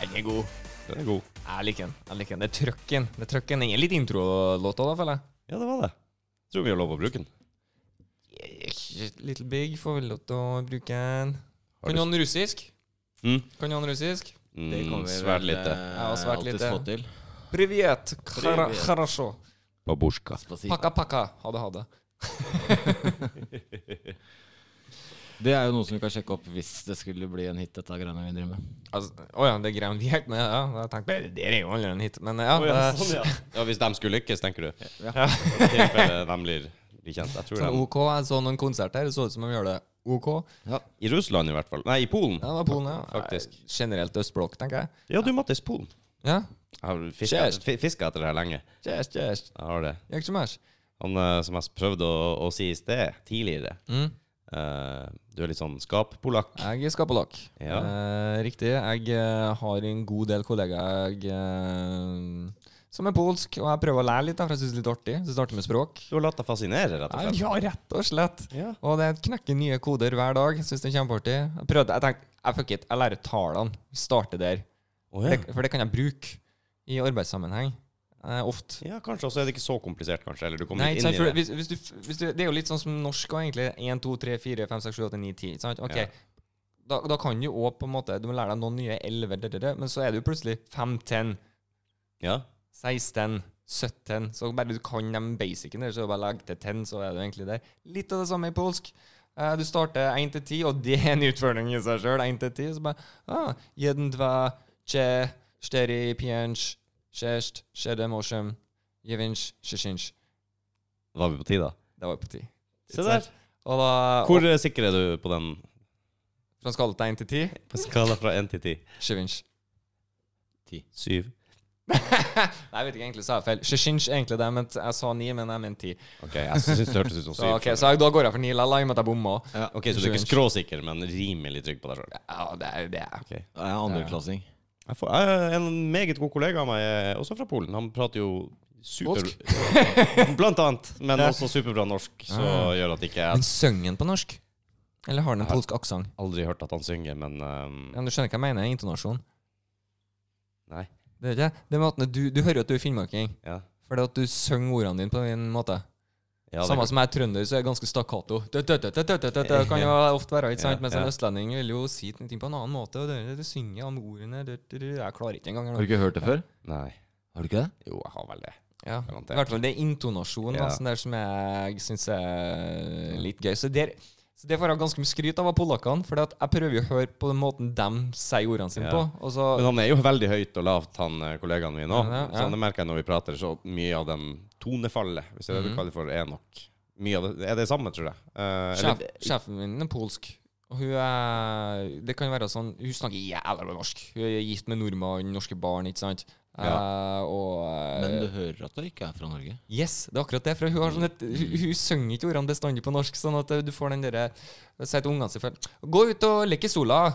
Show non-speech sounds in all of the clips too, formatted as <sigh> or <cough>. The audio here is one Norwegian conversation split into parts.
Den er god. Den er god. Jeg liker den. jeg liker den. Det er trøkken. Det er trøkken. Den er litt introlåta, da, føler jeg. Ja, det var det. Tror vi har lov å bruke den. Yeah, Little Big får vel lov til å bruke den. Har Kan du du- ha den russisk? Mm. Kan du ha den russisk? Det Mm, kommer vi svært vel, lite. eh, Ja, svært alltids lite. få til. Privet. Hara- Привет. Хорошо. Babusjka. Spasibo. Pakka, pakka. Ha det, ha det. Det er jo noe som vi kan sjekke opp hvis det skulle bli en hit, dette greiene vi driver med. Altså, Å ja, det er greia vi helt med. Ja, jeg tenkte det der er jo allerede en hit. Men ja. Å ja, det- sånn, ja. ja, hvis de skulle lykkes, tenker du? Ja. I tilfelle de blir blir kjent. Jeg tror Sånn de OK. Jeg så noen konserter, det så ut som de gjør det OK. I Russland, i hvert fall. Nei, i Polen. Ja, det var Polen, ja. Faktisk. Nei, Generelt østblokk, tenker jeg. Ja, du, Mattis. Polen. Ja. Jeg har fiska Kjære. fi- fiska etter det her lenge. Kjæs, kjæs. Jeg har det. Ikke så mye. Han eh, som jeg prøvde å, å si i sted, tidligere Mm. eh, Du er litt sånn skappolakk. Jeg skaper lakk. Ja. Eh, riktig. Jeg eh, har en god del kollegaer jeg, eh, som er polsk, og jeg prøver å lære litt, da, for jeg syns det er litt artig. Så jeg starter med språk. Du har latt deg fascinere, rett og Nei, slett. ja, rett og slett. Ja. Og det knekker nye koder hver dag. Syns det er kjempeartig. Jeg prøvde, jeg tenkte jeg fuck it, jeg lærer tallene. Starter der. Å, For ja. det, for det kan jeg bruke i arbeidssammenheng. Eh, ofte. ja, kanskje. Og så er det ikke så komplisert, kanskje. Eller du kommer Nei, litt ikke sant, inn i for det. hvis, hvis du, hvis du, det er jo litt sånn som norsk også, egentlig. 1, 2, 3, 4, 5, 6, 7, 8, 9, 10. ikke Sant? Ok. Ja. Da, da kan du òg på en måte Du må lære deg noen nye 11, det, det, det, men så er det jo plutselig 5, 10, Ja. 16, 17 Så bare du kan de basicene, der, så bare legg til 10, så er du egentlig der. Litt av det samme i polsk. Eh, Du starter 1 til 10, og det er en utfordring i seg sjøl. 1 til 10, så bare ah, Jeden, dva, che, steri, pienj, sjesht, sjede, mosjem, jevinj, sjeshinj. Var vi på tide? Det var på 10. Se der. Og da Hvor eh, sikker er du på den Fra skala til 1 til 10 på skala fra 1 til 10? Sjevinch. 7. <laughs> Nei, jeg vet ikke, egentlig så er jeg feil. Sjeshinch er egentlig det, men jeg sa 9, men jeg mente 10. OK, jeg syns det hørtes ut som Så, 7. ok, så jeg, da går jeg for 9 likevel, i og med at jeg bomma. Ok, Så du er ikke skråsikker, men rimelig trygg på deg sjøl? Ja, det er det. er- Jeg er andreklassing. Jeg får, jeg, en meget god kollega av meg, er også fra Polen, han prater jo super... <laughs> Blant annet, men også superbra norsk, så gjør at ikke Men jeg synger han på norsk? Eller har han en polsk aksent? aldri hørt at han synger, men ehm, Ja, men du skjønner hva jeg mener? Intonasjon. Nei. Det er ikke det er måten du, du hører jo at du er finnmarking, Ja. fordi at du synger ordene dine på din måte. ja det- Samme som jeg er trønder, så er jeg ganske stakkato. Dø, dø, dø, dø, dø, dø, dø, dø, kan <laughs> jo ofte være, ikke sant? Ja, Mens en ja. østlending vil jo si ting på en annen måte. Og det, det synger om ordene dø, dø, dø. Jeg klarer ikke engang. Har du ikke hørt det før? Nei. Har du ikke det? Jo, jeg har vel det. Ja. Garantert. I hvert fall det er intonasjonen Ja. da, sånn der som jeg syns er litt gøy. Så, der, så det får jeg ganske mye skryt av av polakkene, for jeg prøver jo å høre på den måten de sier ordene sine Ja. på. Og så, Men han er jo veldig høyt og lavt, han eh, kollegaen min òg. Ja, ja. Så det merker jeg når vi prater, så mye av den tonefallet, hvis det er det Mhm. du kaller for, er nok Mye av det er det samme, tror jeg. Eh, sjef, sjefen min er polsk. Og hun er Det kan være sånn Hun snakker jævla bra norsk. Hun er gift med nordmann, norske barn, ikke sant. Eh, og eh, Men du hører at du ikke er fra Norge? Yes, det er akkurat det. For hun, har sånn et, hun, hun synger ikke ordene bestandig på norsk, sånn at eh, du får den derre Si til ungene sine Gå ut og lek i sola.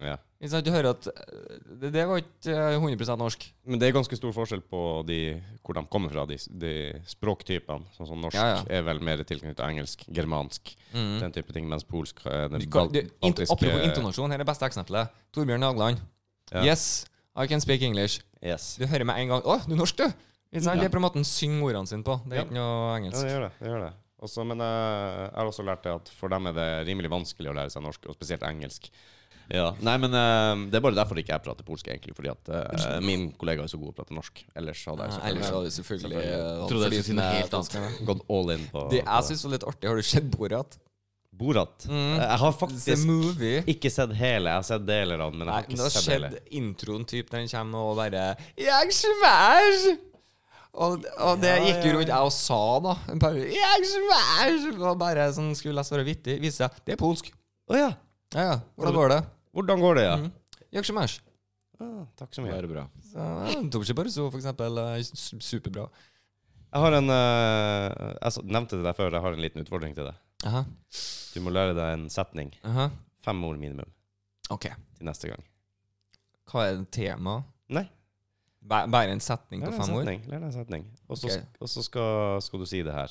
ja. Ikke sant, du hører at eh, det, det var ikke eh, 100 norsk. Men det er ganske stor forskjell på de, hvor de kommer fra, de, de språktypene. Sånn som norsk Ja, ja. er vel mer tilknyttet engelsk, germansk, den type ting, mens polsk er Du den kan, bal- du, int, baltiske- apropos intonasjon, her er det beste eksempelet. Torbjørn Nagland. Ja. Yes, I can speak English. Yes. Du hører med en gang Å, du er norsk, du! Ikke sant? Det er på den måten han synger ordene sine på. Det Ja. er ikke noe Ja, engelsk. det gjør det. det, gjør det. Også, men eh, jeg har også lært det at for dem er det rimelig vanskelig å lære seg norsk, og spesielt engelsk. Ja, Nei, men eh, det er bare derfor ikke jeg prater polsk, egentlig. Fordi at eh, min kollega er så god å prate norsk. Ellers hadde jeg Nei, Eh, Ah, ellers selvfølgelig hadde det selvfølgelig Selvfølgelig. eh, Trodde jeg fordi skulle si noe den er helt annet. danskene. gått all in på, Det på jeg syns var litt artig, har du sett Borat? Borat. Mm. Jeg har It's a faktisk movie. ikke sett hele. Jeg har sett deler av den, men jeg Nei, har men ikke det har sett skjedd hele. introen typ når den kommer og bare Jeg smash! Og, og det Ja, gikk jo ja, rundt jeg og sa, da. Bare, jeg smash! Og bare sånn skulle lese være vittig. Viste seg det er polsk. Å ja. Ja, ja. Hvordan går det? Hvordan går det, ja? Mhm. Jeg smash. Ah, takk så Det mye. er bra. Så, ja, tok ikke bare så, for eksempel. eh, su- Superbra. Jeg har en eh, Jeg s- nevnte det deg før, jeg har en liten utfordring til deg. Aha, Du må lære deg en setning. aha. Fem ord minimum OK. til neste gang. Hva er temaet? Nei. Bæ- Bare en setning på Lær deg en fem ord? setning. Lær deg en setning. Og så Ok. sk- og så skal, skal du si det her.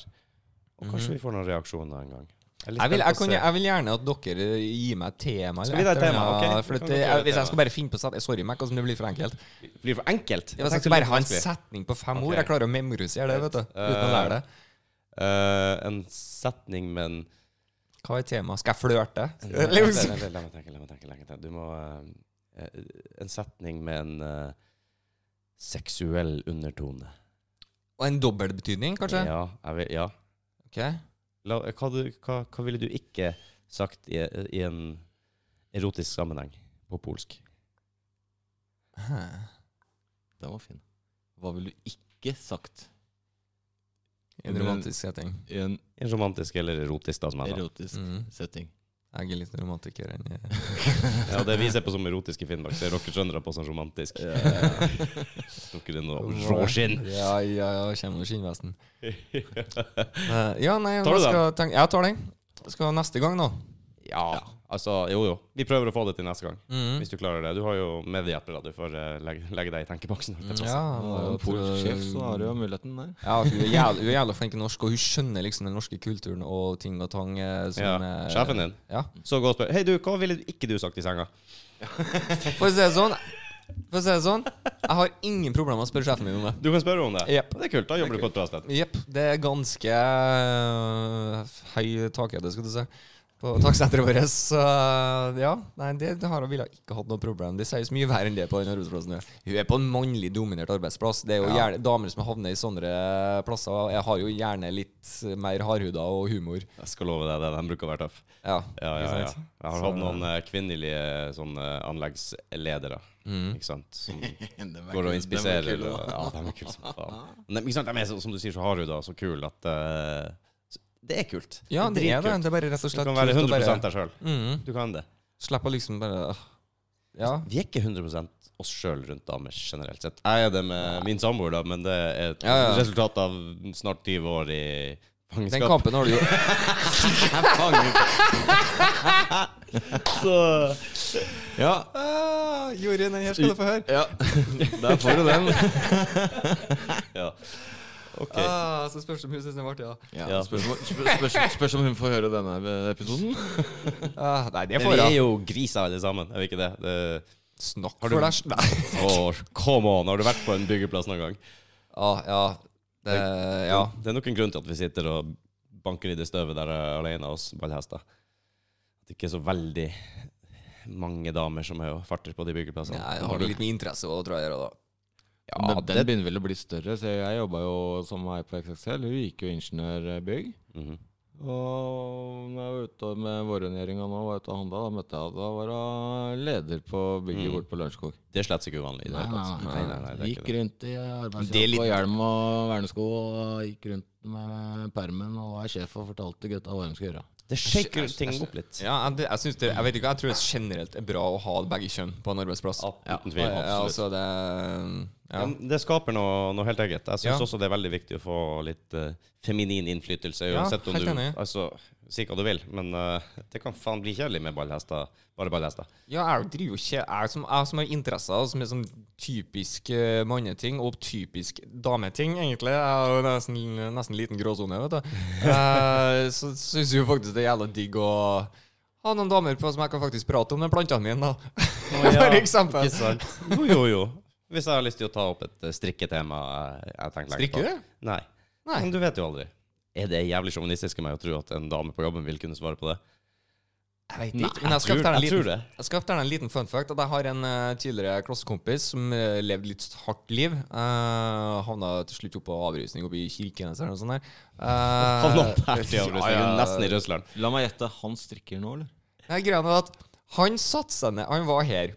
Og kanskje Mhm. vi får noen reaksjoner en gang. er litt Jeg vil, spent jeg, på å kunne, se. jeg vil gjerne at dere gir meg et tema. Skal vi ta et eller tema? eller annet, Ok, for da kan at, dere jeg, gjøre hvis et jeg tema. skal bare finne på set- Sorry, Mac, altså, men det blir for enkelt. Blir det for enkelt? Jeg tenkte skal bare litt ha en vanskelig. setning på fem Ok. ord. Jeg klarer å memorisere det, vet du. Uten å Eh, lære det. Eh, en setning, men Hva er temaet? Skal jeg flørte? La meg Liksom. tenke, la meg tenke. la meg tenke, la meg tenke. Du må eh, eh, En setning med en eh, seksuell undertone. Og en dobbeltbetydning, kanskje? Ja. Jeg vil, ja. Ok. La, eh, hva, du, hva, hva ville du ikke sagt i, i en erotisk sammenheng på polsk? Hæ. Den var fin. Hva ville du ikke sagt En romantisk setting. i en I en romantisk eller erotisk, da, som jeg sa. erotisk Mm. setting? Jeg er litt romantiker enn jeg Ja, det vi ser på som erotisk i Finnmark, ser dere trøndere på som romantisk. <laughs> Dere er noe <laughs> råskinn. Ja, ja, ja. Kommer med skinnvesten. Eh, Ja, nei, Tar du hva skal jeg tenke- Jeg tar den. Skal neste gang, da. Ja, altså Jo, jo. Vi prøver å få det til neste gang. Mhm. Hvis du klarer det. Du har jo mediehjelper, da. Du får eh, legge, legge deg i tenkeboksen. holdt jeg på å si. Ja, En polsk sjef, så har du jo muligheten der. <laughs> Ja, hun er jævla, hun er jævla flink i norsk, og hun skjønner liksom den norske kulturen og ting og tang. eh, Som, Ja, eh, Sjefen din. Ja. Så gå og spør Hei, du, hva ville ikke du sagt i senga? For å si det sånn, for å si det sånn jeg har ingen problemer med å spørre sjefen min om det. Du kan spørre om det. Jepp. Det er kult. Da jobber du på et bra sted. Jepp. Det er ganske eh, høy takhøyde, skal du si. På taksenteret vårt. Så ja. Nei, det, det har hun ville ikke hatt noe problem. Det sies mye verre enn det på den arbeidsplassen. hun er. Hun er på en mannlig dominert arbeidsplass. Det er jo gjerne Damer som havner i sånne plasser, jeg har jo gjerne litt mer hardhuda og humor. Jeg skal love deg det. De bruker å være tøff. Ja, Ja, ja, ikke ja. sant? Jeg har Så- hatt noen eh, kvinnelige sånne anleggsledere, Mhm. ikke sant, som går og inspiserer. og- Ja, de er kule som faen. Men de, ikke sant, de er, så, som du sier, så harde og så kule at eh, så- Det er kult. Ja, det er det. dritkult. Det er bare rett og Du slett kan kult være å 100 bare, deg sjøl. mm, Du kan det. Slipp å liksom bare øh. Ja. Vi er ikke 100 oss sjøl rundt damer generelt sett. Jeg er det med min samboer, da, men det er et Ja, ja. resultat av snart 20 år i Den fangenskap. kampen har du jo Ja. <laughs> ah, Jorunn, den her skal du få høre. ja. Der får du <laughs> den. <laughs> Ja. Ok. Ah, så spørs det om hun syns den er artig, da. Ja. Spørs, om- spørs, spørs, spørs om hun får høre denne eh, episoden. Ah, nei, det Men får vi er jeg. jo griser alle sammen, er vi ikke det? det Snakk Har du- for deg. sj- Nei. Åh, come on, har du vært på en byggeplass noen gang? Ah, ja. Det, ja. Det er nok en grunn til at vi sitter og banker i det støvet der eh, alene, oss ballhester. At det ikke er så veldig mange damer som er og farter på de byggeplassene. Nei, det Sånn, har litt med interesse å dra her og da. Ja, Men den det, begynner vel å bli større. Så jeg jobba jo som ei på XXL. Hun gikk jo ingeniørbygg. Mhm. Og når jeg var ute med vårrengjøringa nå, var jeg ute og handla, da møtte jeg henne. Da var hun leder på bygget borte på Lørenskog. det er slett ikke uvanlig. i Det, hele tatt. det er ikke Gikk det. rundt i Det er arbeidsjakke litt- og hjelm og vernesko og gikk rundt med permen og var sjef og fortalte gutta hva de skulle gjøre. det shaker ting opp litt. Ja, jeg, det- jeg, synes det, jeg vet ikke, jeg tror det generelt er bra å ha begge kjønn på en arbeidsplass. Ja, uten tvil. Ja, absolutt. altså det Ja. ja. men Det skaper noe, noe helt eget. Jeg syns Ja. også det er veldig viktig å få litt eh, feminin innflytelse. Ja, Uansett om helt du enig. altså, Si hva du vil, men eh, det kan faen bli kjedelig med ballhester. Bare ballhester. Ja, jeg driver jo ikke Jeg som, jeg som har interesser som er sånn typisk eh, manneting og typisk dameting, egentlig. Jeg har jo nesten, nesten liten gråsone, vet du. Eh, så syns jeg jo faktisk det er jævla digg å ha noen damer på som jeg kan faktisk prate om de plantene mine, da. ja, <laughs> For eksempel. Ikke sant? Jo, jo, jo. Hvis jeg har lyst til å ta opp et eh, strikketema eh, jeg tenker lenge Strikker du? på. Nei. Nei. Men du vet jo aldri. Er det jævlig sjåvinistisk av meg å tro at en dame på jobben vil kunne svare på det? Jeg vet Nei, ikke. Men jeg skal tror- fortelle en jeg liten- tror det. Jeg skal fortelle en liten fun fact. At jeg har en eh, tidligere klassekompis som eh, levde litt hardt liv. Uh, havna til slutt opp på avrusning oppe i Kirkenes eller noe sånt. der. Eh, Han lå der til avrusning, ja, ja. nesten i Russland. La meg gjette, han strikker nå, eller? Nei, greia var at han satt seg ned, han var her,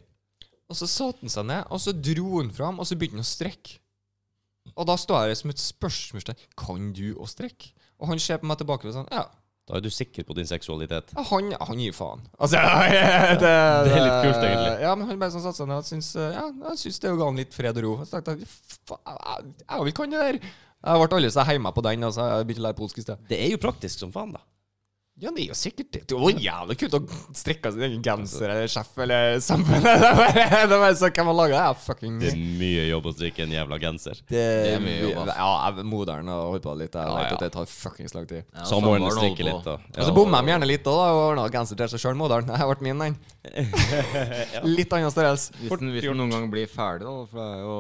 og så satt han seg ned, og så dro han fram, og så begynte han å strekke. Og da står jeg der som et spørsmålstegn. Kan du å strekke? Og han ser på meg tilbake og sånn, ja, Da er du sikker på din seksualitet. ja, han, han gir faen. Altså, <laughs> det, det, Det er litt kult, egentlig. Ja, men han bare sånn satt seg ned og syntes, ja, han syntes det ga han litt fred og ro. Så tenkte jeg, faen, jeg- jeg vil kan det der. Jeg ble aldri så heima på den, altså, jeg begynte å lære polsk i sted. Det er jo praktisk som faen, da. Ja, det er jo sikkert det. Det var jævlig kult å strikke sin egen genser eller sjef eller <laughs> samfunn. Det er bare- det er bare så hvem har laga det? Ja, Fucking Det er mye jobb å strikke en jævla genser. Det altså. er mye jobb, ass. Ja, jeg- moderen har holdt på litt. Jeg Ja, vet ja. at det tar fuckings lang tid. Ja, Samboeren samboeren holder strikker på. litt, da. Og så bommer de gjerne litt da, da og ordner genser til seg sjøl, moderen. <laughs> Det ble min, den. Litt annen størrelse. Hvis den, hvis den noen gang blir ferdig, da. For det er jo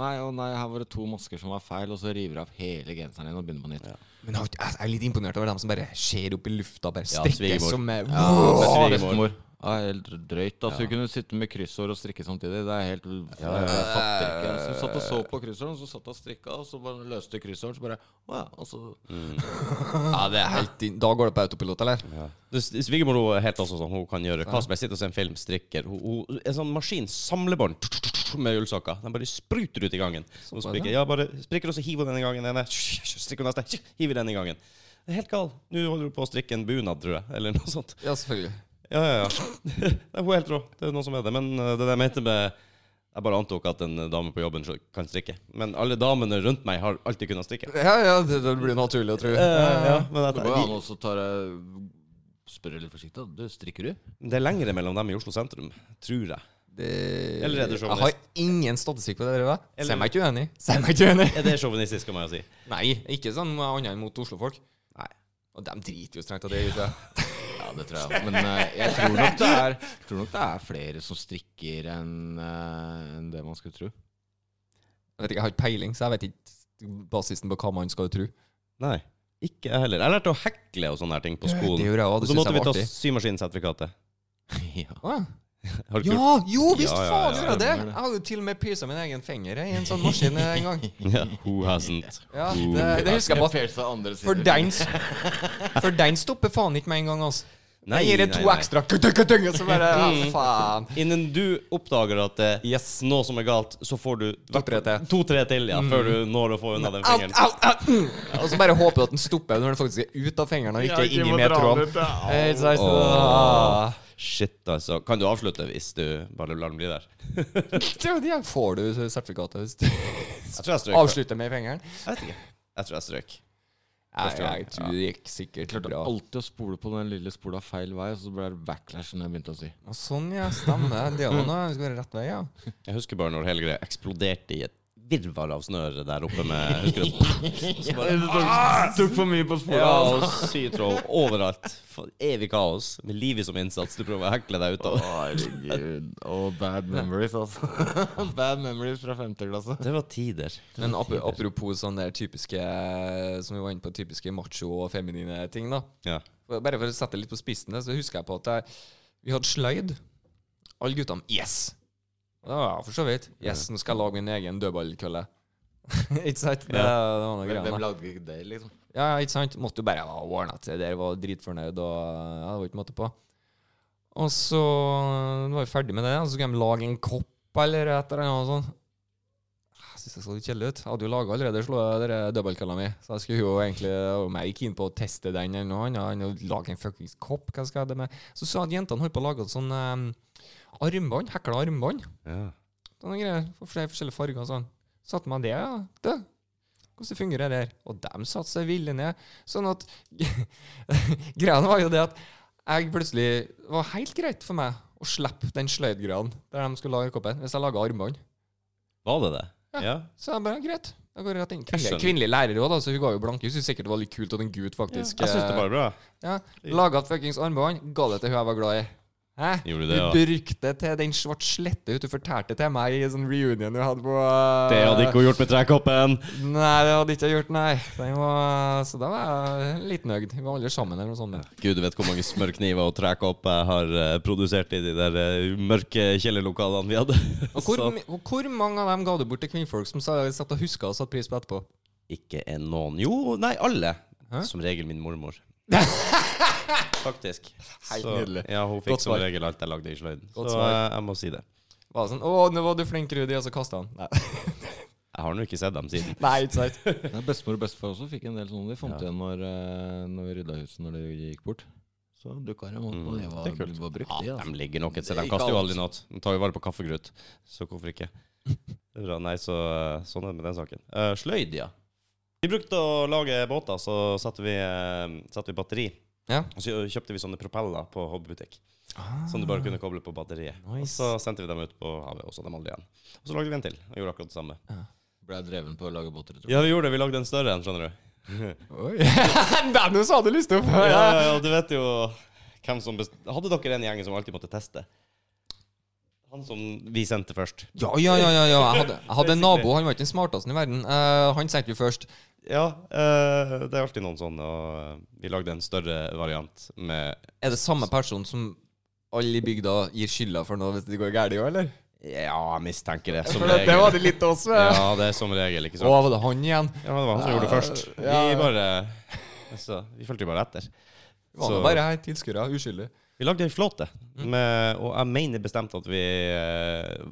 Nei, å nei, her var det to masker som var feil, og så river du av hele genseren din og begynner på nytt. Men jeg har ikke- altså, jeg er litt imponert over dem som bare ser opp i lufta, bare Ja, strikker svigermor. som eh, er Åh, svigermor. bestemor. Ja, helt drøyt. Altså, Hun kunne sitte med kryssord og strikke samtidig. Det er helt Jeg fatter ikke. Så hun satt og så på kryssorden, så satt hun og strikka, og så bare løste kryssorden, så bare Å ja, altså Ja, det er helt inn- Da går det på autopilot, eller? Du, Svigermor hun er helt også sånn Hun kan gjøre hva som helst. Sitter og ser en film, strikker. Hun, hun en sånn maskin, samlebånd med ullsokker. Den bare spruter ut i gangen. Hun Såpass, sprikker, ja, bare sprikker, og så hiver hun den i gangen. Denne. Strikker hun neste. Hiver den i gangen. Det er helt gal. Nå holder hun på å strikke en bunad, tror jeg. Eller noe sånt. Ja, selvfølgelig. Ja, ja, <laughs> ja. Nei, hun er helt rå. Det er noe som er det. Men eh, det der jeg mente med Jeg bare antok at en dame på jobben kan strikke. Men alle damene rundt meg har alltid kunnet strikke. Ja, ja, det, det blir naturlig å tro. Eh, ja, men Det at, går jo an å så ta det- spørre litt forsiktig. da. Du, strikker du? det er lengre mellom dem i Oslo sentrum, tror jeg. Det- Eller er det Jeg journalist? har ingen statistikk på det. der, Eller- Se meg ikke uenig. Se meg ikke uenig. Er det sjåvinistisk av meg å si? Nei, ikke sånn annet enn mot oslofolk. Nei. Og de driter jo strengt av det. Ikke? Ja, det tror jeg. Men eh, jeg tror nok det er, tror nok det er flere som strikker enn eh, enn det man skulle tro. <laughs> Jeg vet ikke, jeg har ikke peiling, så jeg vet ikke basisen på hva man skal tro. Nei. Ikke jeg heller. Jeg lærte å hekle og sånne her ting på Det skolen. gjorde jeg òg. Og Det så syns måtte jeg vi var ta artig. symaskinsertifikatet. ja. Å, Har du Ja, jo visst, Ja, ja, ja, faen gjør jeg det! stemmer det. Jeg har jo til og med pysa min egen finger i en sånn maskin en gang. kult? Ja, who hasn't? Ja, det, det husker jeg bare. Pierce av andre For sider. den, s- for den stopper faen ikke med en gang, altså. Jeg gir det to ekstra kutte, kutte, og så bare ja, faen. Innen du oppdager at det er Yes. noe som er galt, så får du To-tre til. Mm. to-tre til, ja, før du når å få unna den Au, fingeren. au, au! mm. Og så bare håper du at den stopper når den faktisk er ut av fingeren og ikke inn i mer tråd. Eh, så- så- Åh. Shit, altså. Kan du avslutte hvis du bare lar den bli der? Det var det. Får du sertifikatet hvis du Jeg tror jeg strøk. avslutter med fingeren? Jeg vet ikke. Jeg tror jeg strøk. Nei, gang. jeg tror det gikk sikkert klarte bra. alltid å spole på den lille spola feil vei, så ble det backlash når jeg begynte å si. Og sånn, ja. Stemmer. Det er jo noe. Det skal være rett vei, ja. Jeg husker bare når hele greia eksploderte i et virvar av snøre der oppe med husker <laughs> du, Så bare- tok, for mye på Ja, og sytråd overalt. For evig kaos. Med livet som innsats. Du prøver å hekle deg ut av Herregud. Og bad memories, altså. <laughs> bad memories fra femte klasse. Det var tider. Men ap apropos sånne der typiske Som vi var inne på, typiske macho og feminine ting, da. Ja. For- Bare for å sette det litt på spissen, der, så husker jeg på at jeg, vi hadde sløyd. Alle guttene Yes! Og det var jeg for så vidt. Yes, nå skal jeg lage min egen dødballkølle. <laughs> ikke sant? Det, det var noe greier. da. lagde ikke det, liksom? Ja, ja, ikke sant? Måtte jo bare ha ordna til det. der, Var dritfornøyd og ja, det var ikke måte på. Og så var vi ferdig med det, og så skulle de lage en kopp eller et eller annet sånt. Jeg synes det så litt kjedelig ut. Jeg hadde jo laga allerede slå dere døbbelkalla mi, så jeg skulle jo egentlig om jeg gikk inn på å teste den eller noe annet enn å lage en fuckings kopp. Hva skal jeg ha det med? Så sa jeg at jentene holdt på å lage et sånn eh, armbånd, hekla armbånd. ja. Sånne greier. For flere forskjellige farger og sånn. Satte meg det, ja. Det. Hvordan fungerer det her? Og dem satte seg villig ned. Sånn at <laughs> Greia var jo det at jeg plutselig Det var helt greit for meg å slippe den sløydgreia der de skulle lage koppen, hvis jeg laga armbånd. Var det det? Ja. Ja. Så jeg bare greit. Da går jeg rett inn. Jeg Kvinnelig, skjønner. kvinnelig lærer òg, da, så hun ga jo blanke. Hun syntes sikkert det var litt kult at en gutt Jeg faktisk eh, syns det var bra. ja, Laga et fuckings armbånd, ga det til hun jeg var glad i. Hæ? Gjorde Du det, ja. brukte til den svart slette ut. Du fortalte til meg i sånn reunion du hadde på eh, Det hadde ikke hun gjort med trekoppen. Nei, det hadde ikke jeg gjort, nei. Den var, så da var jeg litt nøyd. Vi var alle sammen eller noe sånt. Gud, du vet hvor mange smørkniver og trekkopp jeg har eh, produsert i de der eh, mørke kjellerlokalene vi hadde. Og hvor, <laughs> Så- mi- og hvor mange av dem ga du bort til kvinnfolk som sa- satt og huska og satte pris på etterpå? Ikke en noen. Jo, nei, alle. Hæ? Som regel min <laughs> mormor. Faktisk. Helt Så- nydelig. Ja, hun fikk Godt som svar. regel alt jeg lagde i sløyden. Så Godt svar. eh, jeg må si det. Var det sånn 'Å, nå var du flink, Rudi', og så kasta han. Nei, Jeg har nå ikke sett <laughs> dem siden. nei ikke sant. Nei, bestemor og bestefar også fikk en del sånne. De fant igjen når, eh, når vi rydda huset når de gikk bort. Så dukka de opp, og de var, det er kult. de var brukt, de. Ja, Altså. de ligger nok et sted. Det er De ikke kaster jo alt. aldri noe. De tar jo vare på kaffegrut, så hvorfor ikke? Det er Bra, nei, så eh, sånn er det med den saken. Eh, sløyd, ja. Vi brukte å lage båter, så satte vi, eh, satte vi batteri Ja. Og så kjøpte vi sånne propeller på hobbybutikk. <laughs> Som du bare kunne koble på batteriet. Og Nice. så sendte vi dem ut på havet, og så dem aldri igjen. Og så lagde vi en til, og gjorde akkurat det samme. Ble jeg dreven på å lage båter, tror jeg. Ja, vi gjorde det. Vi lagde en større en, skjønner du. Den du sa du lyst til å få! Ja, Ja. ja, og du vet jo hvem som best... Hadde dere en gjeng som alltid måtte teste? Han som vi sendte først. Ja, ja, ja, ja, ja. Jeg, hadde, jeg hadde en nabo, han var ikke den smarteste i verden. Eh, han sendte vi først. Ja, eh, det er alltid noen sånne, og eh, vi lagde en større variant med Er det samme person som alle i bygda gir skylda for noe hvis det går galt i år, eller? Ja, jeg mistenker det, som For det, det regel. var det litt oss. eh. Ja, det er som regel, ikke Å, sant? var det han igjen? Ja, det var han som gjorde det først. Ja. Vi bare altså, Vi fulgte jo bare etter. Det var nå Så- bare her, tilskuere, uskyldig. Vi lagde ei flåte, Mm. med, og jeg mener bestemt at vi eh,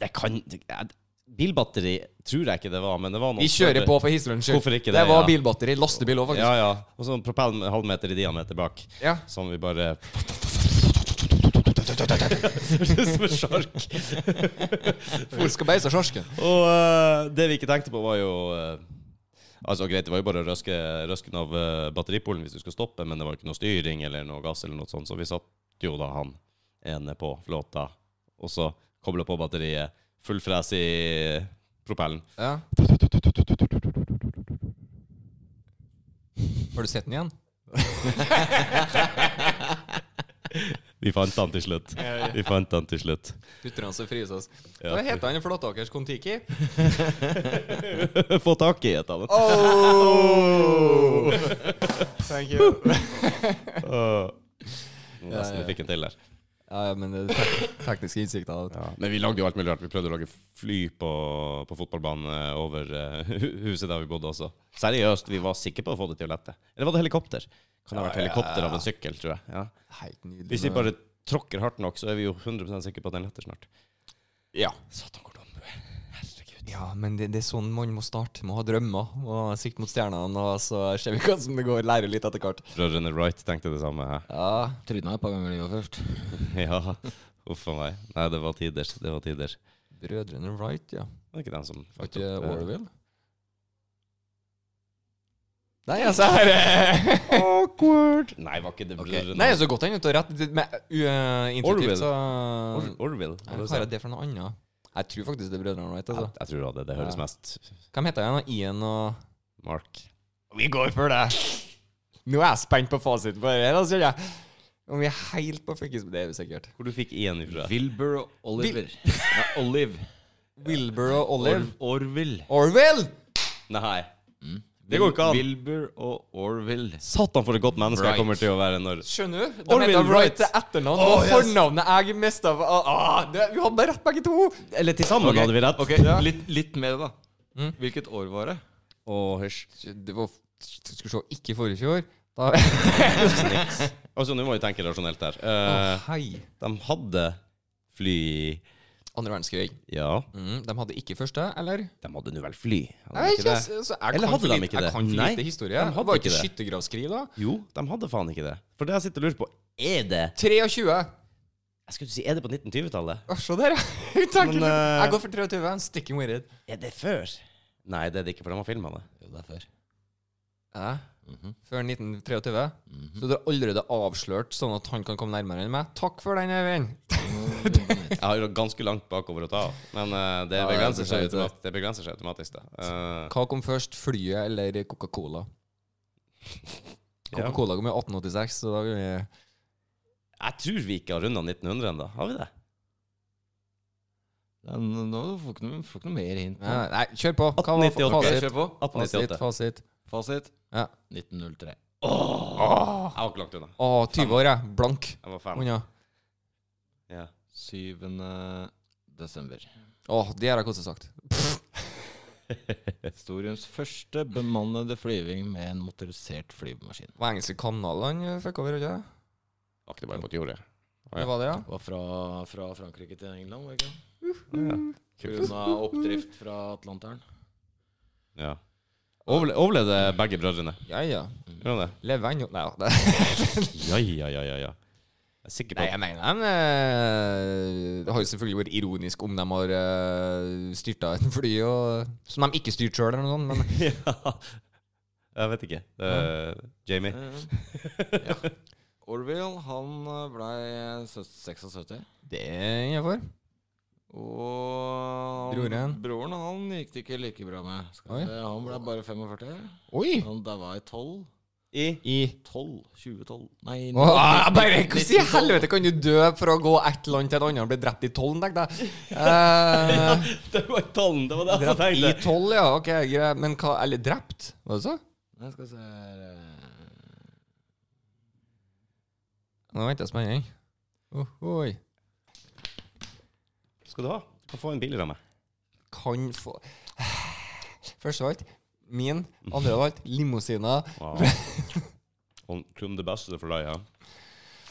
Det kan det- jeg- Bilbatteri tror jeg ikke det var, men det var noe Vi kjører på for historiens skyld. Hvorfor Det ikke det, var ja. bilbatteri. Lastebil òg, faktisk. Ja, ja. Og så en propell med en halvmeter i diameter bak, Ja. som <laughs> vi bare <laughs> Som en sjark. Hvor skal beise sjarsken? Og eh, det vi ikke tenkte på, var jo eh, Altså Greit, det var jo bare å røske, røsken av eh, batteripolen hvis du skulle stoppe, men det var jo ikke noe styring eller noe gass, eller noe sånt, så vi satt jo da han ene på flåta, og så kobla på batteriet, full fres i propellen. Ja. Har du sett den igjen? Vi fant han til slutt. Vi fant han til slutt. <laughs> Guttene som fryses. Ja. Hva heter han i Flåtåkers Kon-Tiki? Få tak i et av dem. Oh! Thank you. Åh. Nesten vi fikk en til der. Ja, men det er tek tekniske innsikter. Ja, men vi lagde jo alt mulig rart. Vi prøvde å lage fly på, på fotballbanen eh, over eh, hu- huset der vi bodde også. Seriøst, vi var sikre på å få det til å lette. Eller var det helikopter? Kan det ha vært helikopter av en sykkel, tror jeg. Ja. Helt nydelig. Hvis vi bare tråkker hardt nok, så er vi jo 100 sikre på at den letter snart. Ja. Satan, hvor dum du er. Herregud. Ja, men det, det er sånn man må starte. Må ha drømmer og sikte mot stjernene, og så ser vi hva som det går. Lærer litt etter hvert. Brødrene Wright tenkte det samme. hæ? Ja. Tryna et par ganger i livet først. <laughs> Ja. Uff a meg. Nei, det var tiders. Det var tiders. Brødrene Wright, ja. Var det ikke den som Var fucked ikke opp, eh, Orwell? Nei, altså her er- Awkward. Nei, var ikke det Ok. brødrene Nei, altså, så godt han ikke har rett. Det- Med uh, intuitivt Orwell. så Or Orville? var Hva det er det? det for noe annet? Jeg tror faktisk det er Brødrene Wright. Jeg, Altså. jeg tror det. Det høres Ja. mest Hvem heter han? Ian og Mark. Vi går for det! Nå er jeg spent på fasiten på det her, altså, kjenner jeg. Om vi er helt på fuckings Det er vi sikkert. Hvor du fikk én ifra. Wilbur og Oliver. Nei, Olive. Wilbur og Or Olive. Orville. Orwell! Nei. Mm. Det går ikke an. Wilbur og Orville. Satan for et godt menneske jeg Right. kommer til å være når Skjønner du? De Orwell heter Wright Wright. til etternavn. Åh, og yes. fornavnet jeg mista av ah, ah, det- Vi hadde rett, begge to! Eller til sammen Ok, hadde vi rett. ok, Ja. litt, litt mer, da. Hvilket år var <laughs> det? Og hysj. Det var Skal vi se Ikke forrige fjor. Da Altså, nå må vi tenke rasjonelt her. Eh, Hei. de hadde fly Andre verdenskrig. Ja, Mm, de hadde ikke første, eller? de hadde nå vel fly? Hadde de Nei, ikke ikke, det? altså, jeg Eller kan hadde for de lite- ikke det? Jeg kan for Nei, lite historie. de Det hadde var ikke ikke det. skyttergravskrig, da. Jo, de hadde faen ikke det. For det jeg sitter og lurer på, er det 23. Jeg skulle si, er det på 1920-tallet? Å, Se der, ja. <laughs> Takk. Men, eh, Jeg går for 23. I'm sticking with it. Er det før? Nei, det er det ikke, for de har filma det. Jo, det er før. Ja, Mhm. før 1923. Mhm. Så du har allerede avslørt, sånn at han kan komme nærmere enn meg. Takk for den, Øyvind. Jeg har jo ganske langt bakover å ta av, men eh, det, Ja, det er begrenser seg for så vidt automat, det begrenser seg automatisk, det. Eh, Hva kom først, flyet eller Coca-Cola? Ja. Coca-Cola kom i 1886, så da vil vi jeg tror vi ikke har runda 1900 ennå, har vi det? Ja, Nå nå får du ikke noe- får ikke noe mer hint. nå. Nei, nei, kjør på. Hva var 1898. Ok, fasit? kjør på. Fasit, 1898. fasit. Fasit Ja. 1903. Åh. Jeg var ikke langt unna. Å, 20 år, jeg. Blank Jeg var fem. unna. Ja. 7. desember. Å, det har jeg koselig sagt. Historiens første bemannede flyving med en motorisert flymaskin. Det var engelske kanal han eh, fikk over, ikke det? Var ikke det bare mot jordet? Å, ja. Det var det, ja? Det var fra, fra Frankrike til England, var det ikke? Ja. Pga. oppdrift fra Atlanteren. ja. Overle overlevde begge brødrene? Ja, ja. Gjorde de det? Lever ennå Nei, ja, <laughs> det Ja, ja, ja, ja, ja. Jeg er sikker på Nei, jeg mener dem eh, Det har jo selvfølgelig vært ironisk om de har eh, <laughs> uh, styrta et fly og, som de ikke styrte sjøl, eller noe sånt. Men ja. Jeg vet ikke. Eh, Jamie. Eh, Ja. Orville, han eh, ble sø- 76. Det er innafor. Og Broren. broren han gikk det ikke like bra med. Skal Oi. vi se, han ble bare 45. Oi! Han daua i 12. I I 12? 2012? Nei, Åh, ah, jeg bare nitten- Hvordan i 1912. helvete kan du dø for å gå ett land til et annet og bli drept i tollen, tenkte <laughs> jeg. Eh, Det var ikke tallen, det var det jeg drept i tenkte. tolv, ja. Ok, greit. Men hva Eller drept, var det så? Jeg skal se her, eh, Nå venter jeg spenning. Oh, oi. Skal du ha? Du kan få en billigere av meg. Kan få Først av alt min. Andre av alt limousiner. <laughs> Og kun det beste for deg, ja.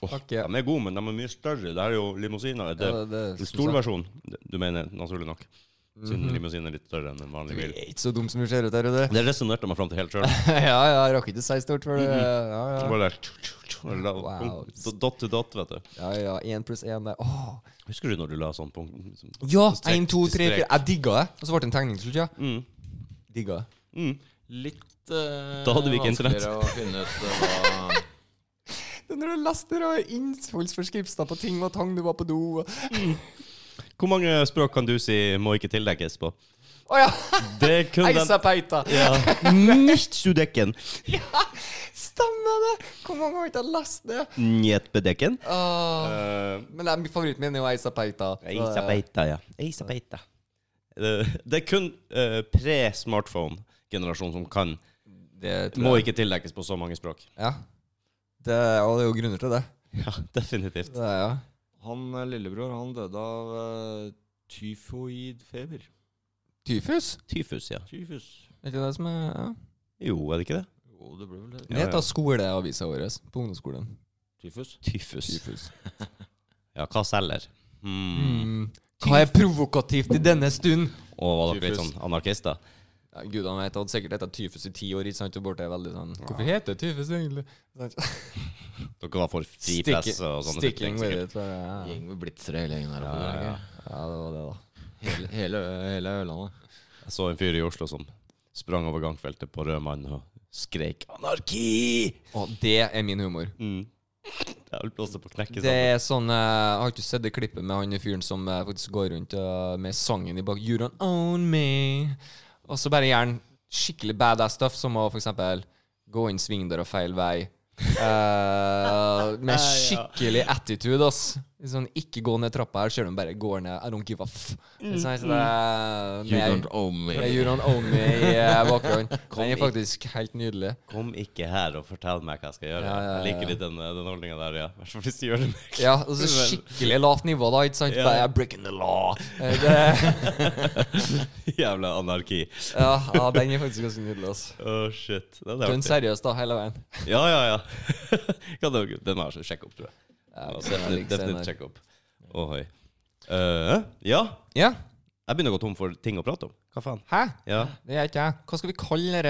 Åh, Ok. De er gode, men de er mye større. Det er jo limousiner. Det Ja, det- det en skulle jeg stor sagt. versjon. Du mener naturlig nok. Siden limousinen er litt større enn en Du vanlig bil. er ikke så dum som du ser ut, er du det? Det resonnerte jeg meg fram til helt sjøl. <laughs> ja, ja, jeg rakk ikke å si stort for det. Mm-hmm. Ja, ja. Wow. Wow. Dot to dot, vet du. Ja, ja, Én pluss én der. Åh. Husker du når du la sånn punkt? Ja! Strek Én, to, til tre, strek. fire. Jeg digga det. Og så ble det en tegning til slutt, ja. Mm. Digga det. Mm. Litt eh, Da hadde vi ikke internett. vanskeligere å finne ut eh, hva Det er Når du laster og innholdsforskrifter på ting og tang du var på do og Hvor mange språk kan du si 'må ikke tildekkes' på? Å <laughs> ja! Det er kun den Eisa peita! ja. Nichtsudekken. Stemmer det! Hvor mange har ikke jeg lest det? Njetbedekken. Åh. Eh, Men det er- favoritten min er jo Eisa peita. Eisa peita, ja. Eisa peita. Det, det er kun eh, pre-smartphone-generasjonen som kan Det tror Må jeg. ikke tildekkes på så mange språk. Ja. Det, og det er jo grunner til det. Ja, definitivt. det er, ja. Han eh, lillebror han døde av eh, tyfoidfeber. Tyfus? Tyfus, ja. Tyfus. Er ikke det som er ja. Jo, er det ikke det? Jo, det ble vel det. Det heter skoleavisa vår altså, på ungdomsskolen. Tyfus. Tyfus. Tyfus. <laughs> Ja, hva selger? Hmm. Mm. Hva er provokativt i denne stund? Og var dere litt Tyfus. sånn anarkister? Ja, Gud, han vet, hadde sikkert hett tyfus i ti år. Ikke sant? Og borte er veldig sånn Hvorfor heter det tyfus egentlig? Sant? Dere var for fri Stick- press og sånne type Sticking ting? with sikkert. it. Bare, ja. Gjeng med blitzere hele gjengen her. Ja, ja, ja, det var det, da. Hele, hele, hele Ørlandet. Jeg så en fyr i Oslo som sprang over gangfeltet på rød mann og skreik 'anarki'! Og det er min humor. Mm. Jeg vil blåse på knekket. Det er sånn eh, Jeg har ikke sett det klippet med han fyren som eh, faktisk går rundt eh, med sangen i bak You don't own me. Og så bare gjerne skikkelig badass stuff, som å for eksempel gå inn svingdøra feil vei. <laughs> Eh, med Ja. skikkelig attitude, ass. Sånn, ikke gå ned trappa her, selv om du bare går ned. I don't give a f. Så jeg- så det er- Mm. You Nei, don't own me. det er You don't own me i eh, <laughs> bakgrunnen. Den er faktisk helt nydelig. Kom ikke her og fortell meg hva jeg skal gjøre. Ja, ja, ja, Jeg liker ja. litt den, eh, den holdninga der, ja. I hvert fall hvis du gjør det med <laughs> Ja, og så skikkelig lavt nivå, da. Ikke sant? Ja. Bare, breaking the <laughs> law. Eh, Det, jævla anarki. ja, ja, den er faktisk ganske nydelig. Altså. Å, shit. Den er Den artig. seriøs, da, hele veien. Ja, ja, <laughs> ja. Kan du- den må jeg sjekke opp, tror jeg. Ja, Ja, vi ser den definitivt like definitivt senere. sjekke opp. Ohoi. Eh, ja. ja, Jeg begynner å gå tom for ting å prate om. Hva faen? hæ? Ja, Det er ikke jeg. Hva skal vi kalle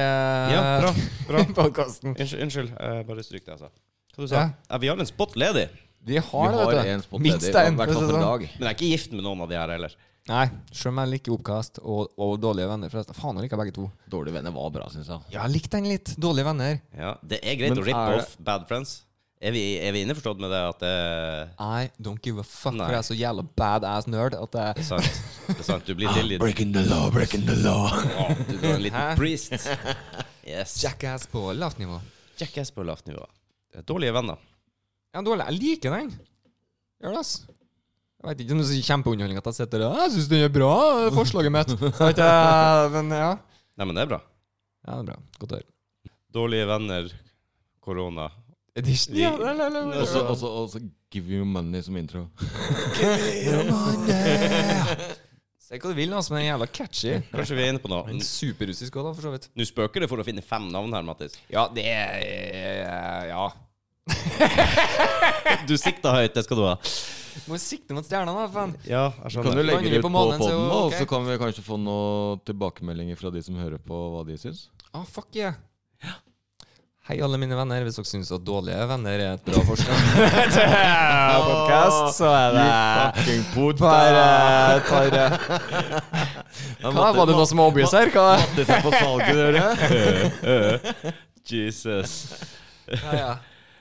ja bra. <laughs> denne bra. podkasten? Unnskyld, unnskyld. eh, bare stryk det jeg sa. Hva du sa Ja. Ja, vi har en spot ledig, Vi Vi har det, har en vet du. spot ledig, Minst i en. hvert fall for i dag. men jeg er ikke gift med noen av de her heller. sånn. Nei, selv om jeg liker oppkast og, og dårlige venner, forresten. Faen, jeg liker begge to. Dårlige venner var bra, syns jeg. Ja, jeg likte den litt. Dårlige venner. Ja, Det er greit Men å rippe er det- off bad friends. Er vi, er vi innforstått med det at det I don't give a fuck, Nei. for jeg er så jævla badass nerd at Det jeg er sant. Det er sant. Du blir tilgitt. Breaking the law, breaking the law. Ja, du er en liten Hæ? priest. Yes. jackass på lavt nivå. Jackass på lavt nivå. Det er Dårlige venner. Ja, dårlig. Jeg liker den. Gjør det, ass. Jeg vet ikke om det er så kjempeunderholdning at jeg sitter der. Jeg syns den er bra, eh, forslaget mitt. Så vet jeg, men ja. Nei, men det er bra. Ja, det er bra. Godt å høre. Dårlige venner, korona. Edition. Ja, det er Og så- og så og så give you money som intro. Se hva du vil, ass, men den er jævla catchy. Kanskje vi er inne på noe. Den er superrussisk òg, da, for så vidt. Nå spøker det for å finne fem navn her, Mattis. Ja, det er Ja. Du sikta høyt, det skal du ha. Må sikte mot stjerna, da, faen. Ja, jeg Kan du legge legge Lander det vi ut på på månen, poden, så er jo og ok. så kan vi kanskje få noen tilbakemeldinger fra de som hører på, hva de <laughs> syns? Ah, fuck yeah. Hei, alle mine venner. Hvis dere syns at dårlige venner er et bra forslag <laughs> til podcast, så er det Fucking Bare eh, tar Hva, Var det noe som var obvious her? Hva? <laughs> Mattis er på salget, dere. Jesus. Ja, ja.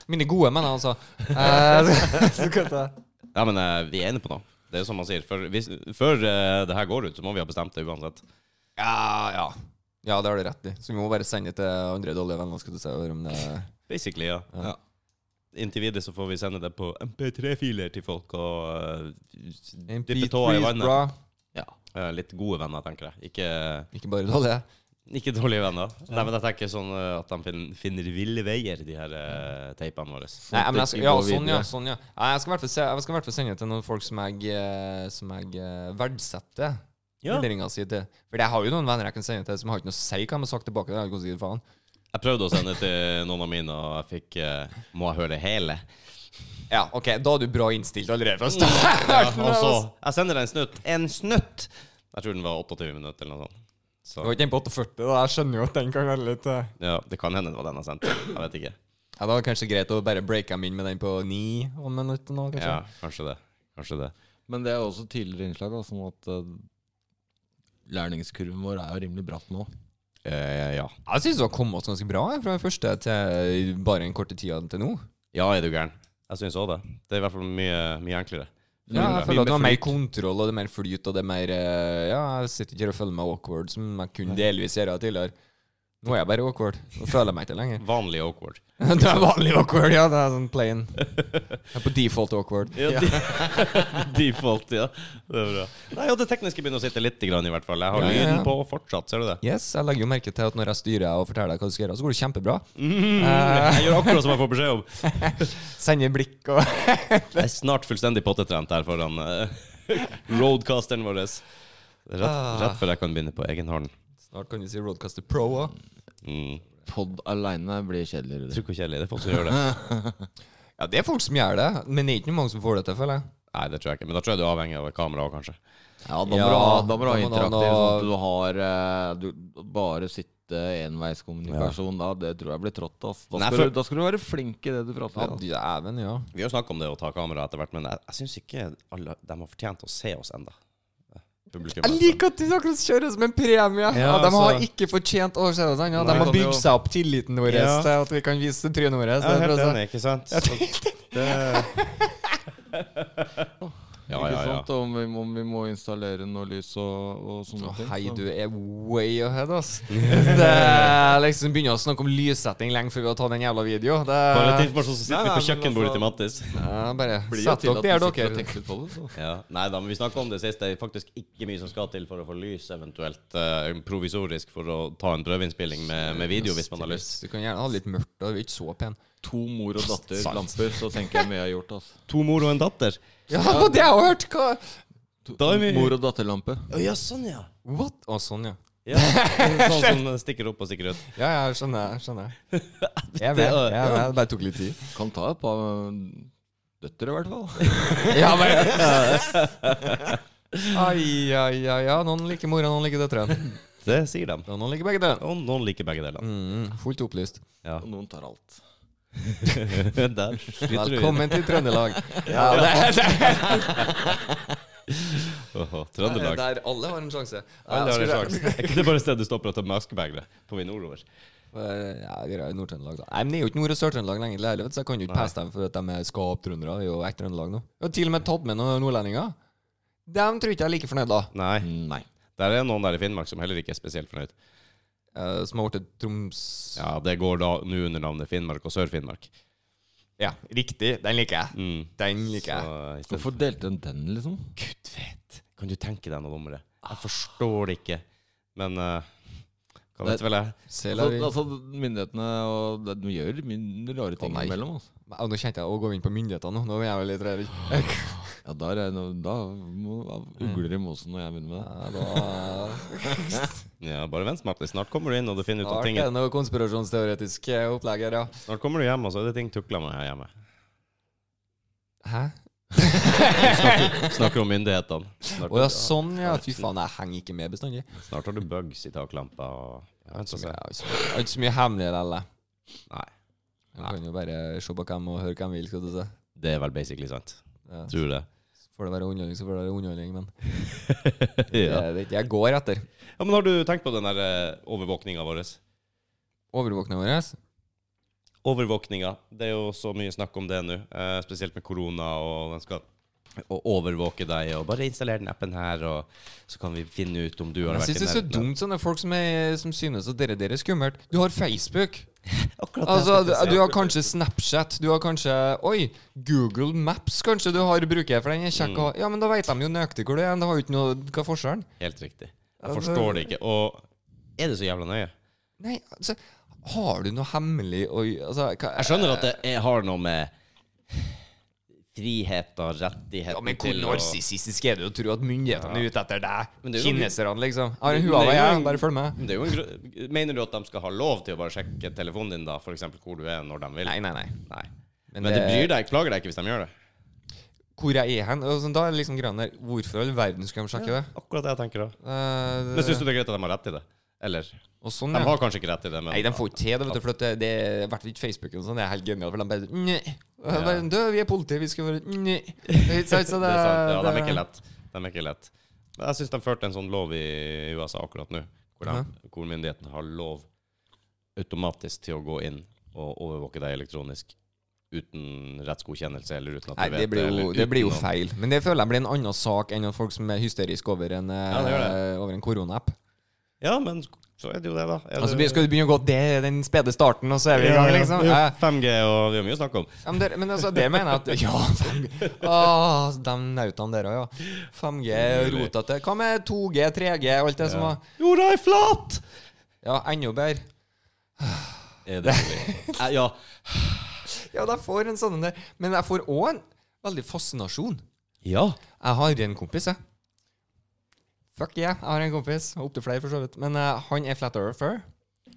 Mine gode menn, altså. Eh, <laughs> så skal jeg ta. Ja, men eh, vi er inne på noe. Det er jo som man sier. Før, hvis, før eh, det her går ut, så må vi ha bestemt det uansett. Ja, ja. Ja, det har du rett i. Så vi må bare sende det til andre dårlige venner. Skal du se om det Basically, ja. Ja. ja. Inntil videre så får vi sende det på MP3-filer til folk og eh, dyppe tåa i vannet. bra. Eh, litt gode venner, tenker jeg. Ikke, Ikke bare dårlige. ikke dårlige venner. Nei, men jeg tenker sånn eh, at de fin, finner ville veier, de her eh, teipene våre. Nei, men jeg skal, ja, sånn, ja. videre. sånn, ja. Nei, Jeg skal i hvert fall se- jeg skal i hvert fall sende det til noen folk som jeg, eh, som jeg eh, verdsetter. Ja. vurderinga si til. For jeg har jo noen venner jeg kan sende til som har ikke noe å si hva de har sagt tilbake. Det har jeg ikke å si faen. Jeg prøvde å sende til noen av mine, og jeg fikk eh, Må jeg høre hele? Mm, Ja, OK, da er du bra innstilt allerede fra starten. Ja, og så Jeg sender deg en snutt. En snutt! Jeg tror den var 28 minutter eller noe sånt. Du Så var ikke inne på 48, da. Jeg skjønner jo at den kan være litt eh. ja, det kan hende det var den jeg sendte. Jeg vet ikke. Ja, Da er det kanskje greit å bare breake dem inn med den på ni om minutter nå, kanskje. Ja, kanskje det. Kanskje det. Men det er jo også tidligere innslag, da, sånn at eh, lærlingskurven vår er jo rimelig bratt nå. Eh, ja. Jeg syns du har kommet oss ganske bra jeg, fra den første til bare den korte tida til nå. ja, er du gæren? Jeg syns òg det. Det er i hvert fall mye, mye enklere. Ja, Mye jeg bra. føler at Mye det var mer mer kontroll, og det er mer flyt, og det er mer eh, Ja, jeg sitter ikke her og føler meg awkward, som jeg kunne delvis gjøre tidligere. Nå er jeg bare awkward. Nå føler jeg meg ikke lenger. <laughs> Vanlig awkward. Det er vanlig awkward, ja. Det er sånn plain. <laughs> Det er på default awkward. Ja, <laughs> de- Default, ja. Det er bra. Nei, og det tekniske begynner å sitte litt, i hvert fall. Jeg har Ja, ja, ja. lyden på fortsatt, ser du det? Yes, jeg legger jo merke til at når jeg styrer og forteller deg hva du skal gjøre, så går det kjempebra. Mm. Jeg gjør akkurat som jeg får beskjed om. Sender blikk og <laughs> Jeg er snart fullstendig pottetrent her foran eh, <laughs> roadcasteren vår. Ah. Rett, rett før jeg kan begynne på egen hånd. Snart kan du si Roadcaster Pro òg. Mm. Pod aleine blir kjedelig, Jeg Rudi. tror ikke kjedelig. Det er folk som gjør det. <laughs> Ja, det er folk som gjør det, men det er ikke mange som får det til, føler jeg. Nei, det tror jeg ikke. Men da tror jeg du er avhengig av kamera òg, kanskje. Ja, da må Ja, du ha, da må du ha da må du ha interaktiv, noe- sånn at du har eh, du, Bare sitte enveiskommunikasjon da, det tror jeg blir trått. Ass. Da, Nei, skal for- du, da skal du være flink i det du prater Ja, om. dæven, ja. Vi har jo snakket om det å ta kamera etter hvert, men jeg, jeg syns ikke alle de har fortjent å se oss enda Publikum. Jeg liker at de akkurat kjører som en premie. Ja, Ja, De har altså. ikke fortjent å se det sånn. Ja. Nei, De har kan bygd jo- seg opp tilliten vår Ja. til at vi kan vise trynet vårt. Jeg så er det er helt bra, så- enig, ikke sant? <laughs> Ja, ja, Ikke ja. sant? Om, vi, om vi må installere noe lys og, og Å, sånne ting. Hei, så- du er way ahead, <laughs> ass. Det er liksom begynner å snakke om lyssetting lenge før vi har tatt den jævla videoen. Det Bare litt er, informasjon, så Nei, sitter vi nei, på men kjøkkenbordet altså- til Mattis. ja, bare Blir jo sett til dere der, at du sitter og dere. tenker litt på det, så. Ja. Nei da, men vi snakka om det sist. Det er faktisk ikke mye som skal til for å få lys, eventuelt eh, provisorisk, for å ta en prøveinnspilling med, med video hvis man har lyst. Du kan gjerne ha litt mørkt, da. Du er ikke så pen. To mor og datter, <laughs> Sant. lamper, så tenker jeg mye jeg har gjort. Ass. To mor og en datter? Ja, <laughs> det var det jeg har hørt! Hva? To, Da er vi- Mor og datterlampe. Å ja, sånn ja. What? Å, sånn, ja. <laughs> ja. Sånn som stikker opp og stikker ut. Ja, ja, jeg skjønner. Jeg <laughs> skjønner. Jeg vet, Det er- jeg vet. Det bare tok litt <laughs> tid. Kan ta et par mm, døtre, i hvert fall. Ja, bare <laughs> Ai, ai, ai. Ja, noen liker mora, noen liker døtrene. Det sier de. Og Noen liker begge døtrene. Og noen liker begge deler. Mm, fullt opplyst. Ja. <laughs> Og noen tar alt. Der sliter du. <laughs> Velkommen til Trøndelag. Ja, det <laughs> er det. Åhå, Trøndelag. Der alle har en sjanse. Alle har en Skulle- sjanse. Er ikke det bare et sted du stopper og tar maskebegeret på vei nordover? Eh, <laughs> Ja, det er jo Nord-Trøndelag, da. Nei, men det er jo ikke Nord- og Sør-Trøndelag lenger, heller, vet du, så jeg kan jo ikke passe dem for at de er skaptrøndere. Det er jo ekte Trøndelag nå. Jeg har til og med tatt med noen nordlendinger. Dem tror ikke jeg er like fornøyd, da. Nei. Nei. Der er noen der i Finnmark som heller ikke er spesielt fornøyd. Eh, Som har blitt Troms... Ja, Det går da nå under navnet Finnmark og Sør-Finnmark. Ja, riktig. Den liker jeg. Mm. Den liker jeg. Så i stedet- Hvorfor delte den den, liksom? Gud vet. Kan du tenke deg noe dummere? Ah. Jeg forstår det ikke. Men eh, hva vet Det- vel jeg? Selleri. Altså, altså, myndighetene og de gjør mye rare ting Å, nei. innimellom. Altså. Au, Nå kjente jeg å gå inn på myndighetene nå. Nå er jeg jo litt <laughs> redd. Ja, der er noe, da må da ugler i mosen når jeg begynner med det. Ja, da Ja, bare vent, Martin. Snart kommer du inn, og du finner ut da at er ting det noe konspirasjonsteoretisk eh, opplegg her, ja. Snart kommer du hjem, og så er det ting tukla med her hjemme. Hæ? Snakker, snakker om myndighetene. Snart, Å ja, sånn, ja. Fy faen, jeg henger ikke med bestandig. snart har du bugs i taklampa og ja, vent Så og mye- se. Jeg har ikke så mye- Altså, jeg har ikke så mye hemmeligheter, eller? Nei. Man kan jo bare se på hvem og høre hvem vil, skal du si. Det er vel basically sant. Ja. Tror det. <laughs> Får det være underholdning, så får det være underholdning, men ja. det er det ikke jeg går etter. eh, ja, Men har du tenkt på den der uh, overvåkninga vår? Overvåkninga vår Overvåkninga. Det er jo så mye snakk om det nå, eh, spesielt med korona, og den skal å overvåke deg, og bare installer den appen her, og så kan vi finne ut om du har Jeg vært syns det er så nærheten av- dumt sånne folk som, er, som synes at dere, dere er skummelt. Du har Facebook. Akkurat det jeg Altså, skal du, til å si. du har kanskje Snapchat. Du har kanskje Oi, Google Maps kanskje du har bruker for den. er Kjekk Mm. å ha. Ja, men da veit de jo nøyaktig hvor du er. Det har jo ikke noe Hva er forskjellen? Helt riktig. Jeg forstår det ikke. Og er det så jævla nøye? Nei, altså Har du noe hemmelig å gj- altså, hva, Jeg skjønner at det er, har noe med frihet og rettigheter Ja, men hvor å- narsissistisk er det å tro at myndighetene er ute etter deg? Men det er jo- Kineserne, liksom. Jeg har en Men det er Huawei, jo jeg. en- Bare følg med. Men det er jo en gru- Mener du at de skal ha lov til å bare sjekke telefonen din, da? For eksempel hvor du er, når de vil? Nei, nei, nei. Nei. Men Men, det- det, bryr deg ikke, plager deg ikke hvis de gjør det? Hvor jeg er hen? Og sånn, da er det liksom greia der Hvorfor i all verden skulle de sjekke det? Akkurat det jeg tenker òg. Eh, Men syns du det er greit at de har rett i det? Eller? og sånn, De ja. har kanskje ikke rett i det, men Nei, de får ikke til det, vet du, for at det, det er i hvert fall ikke Facebook og sånn. Det er helt genialt, for de bare Nei. Og jeg Bare, du, vi er politi, vi skal være <laughs> Nei. Ikke sant, så <laughs> det er sant. Ja, de er det- ikke lett. De er ikke lett. Men jeg syns de førte en sånn lov i USA akkurat nå, hvor, de, hvor myndighetene har lov automatisk til å gå inn og overvåke deg elektronisk uten rettsgodkjennelse eller uten at Nei, du vet det blir, jo, eller det blir jo uten å- feil. Men det føler jeg blir en annen sak enn at folk som er hysteriske over en, Ja, det gjør eh, over en korona-app. Ja, men så er det jo det, da. Er Altså, det- skal du begynne å gå Det er den spede starten, og så er vi i gang, liksom? Ja, Ja, ja. 5G og Vi har mye å snakke om. ja, men, det, men altså, det mener jeg at <laughs> Ja, 5G. Ah, de nautene der òg, ja. 5G, rotete. Hva med 2G, 3G, og alt det som var Jorda er flat! <laughs> Ja, enda bedre. Er det Eh, ja. Ja, da får en sånn en der. Men jeg får òg en veldig fascinasjon. ja. Jeg har en kompis, jeg. Fuck yeah, jeg har en kompis. Opptil flere, for så vidt. Men eh, han er flat earther.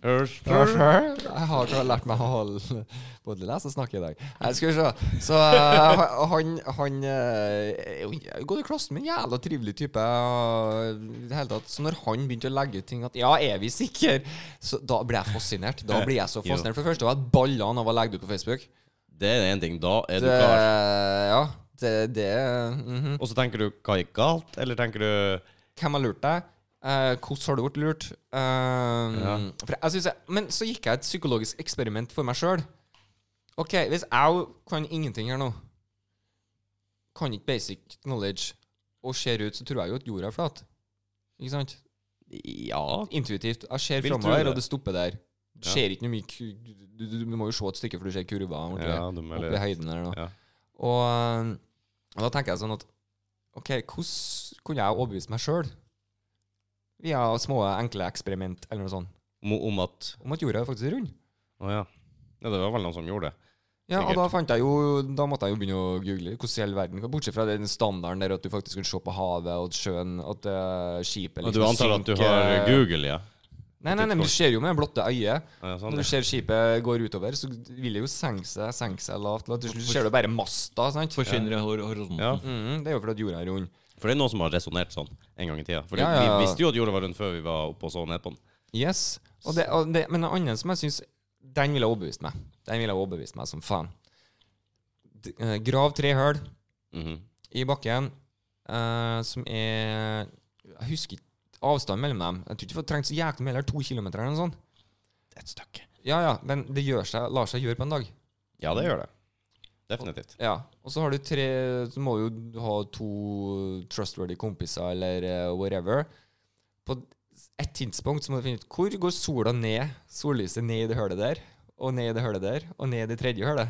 Earth. Jeg har ikke lært meg å holde- både lese og snakke i dag. Jeg skal vi se. Så eh, han, han eh, er jo ikke- går i klassen med en jævla trivelig type. og i det hele tatt. Så når han begynte å legge ut ting at Ja, er vi sikre? Så da ble jeg fascinert. Da ble jeg så Jo. fascinert. For det første var jeg ballene av å legge det ut på Facebook. Det er én ting. Da er du Det, klar. ja, det, det mhm. Og så tenker du hva gikk galt, eller tenker du Hvem har lurt deg? Eh, hvordan har du blitt lurt? Eh, Ja. for jeg synes jeg, men så gikk jeg et psykologisk eksperiment for meg sjøl. OK, hvis jeg kan ingenting her nå, kan ikke basic knowledge, og ser ut, så tror jeg jo at jorda er flat. Ikke sant? Ja. Intuitivt. Jeg ser Vil tro framover, det. og det stopper der. Ja. Ser ikke noe mye ku- du, du, du må jo se et stykke, for du ser kurver ordentlig ja du må oppe i eller- høyden der nå. Ja. Og, og da tenker jeg sånn at OK, hvordan kunne jeg overbevise meg sjøl via små, enkle eksperiment eller noe sånt Om, om at om at jorda er faktisk rund? Å ja. ja. Det var vel noen som gjorde det. Ja, og Sikkert. da fant jeg jo Da måtte jeg jo begynne å google hvordan i hele verden Bortsett fra den standarden der at du faktisk kunne se på havet og sjøen, at eh, skipet Og du antar at du har Google, ja? Nei, nei, nei, men du ser jo med det blotte øyet. ja sånn, Når du ja. ser skipet går utover, så vil det jo senke seg, senke seg lavt. og Til slutt ser du bare masta, sant? Forsvinner i hor- horisonten. Ja. Mhm, det er jo fordi at jorda er rund. For det er noen som har resonnert sånn en gang i tida. For Ja, ja, ja. vi visste jo at jorda var rundt før vi var oppe og så ned på den. Yes. Og det, og det, men det andre som jeg syns Den ville overbevist meg. Den ville overbevist meg som faen. D- eh, Grav tre hull Mhm. i bakken eh, som er Jeg husker ikke avstanden mellom dem. Jeg tror ikke det trengte så jæklig mye, eller to kilometer eller noe sånt. Det er et stykke. Ja, ja, men det gjør seg, lar seg gjøre på en dag. Ja, det gjør det. Definitivt. Ja, Og så har du tre Så må jo du ha to trustworthy kompiser eller eh, whatever. På et tidspunkt så må du finne ut hvor går sola ned, sollyset ned i det hølet der, og ned i det hølet der, og ned i det tredje hølet.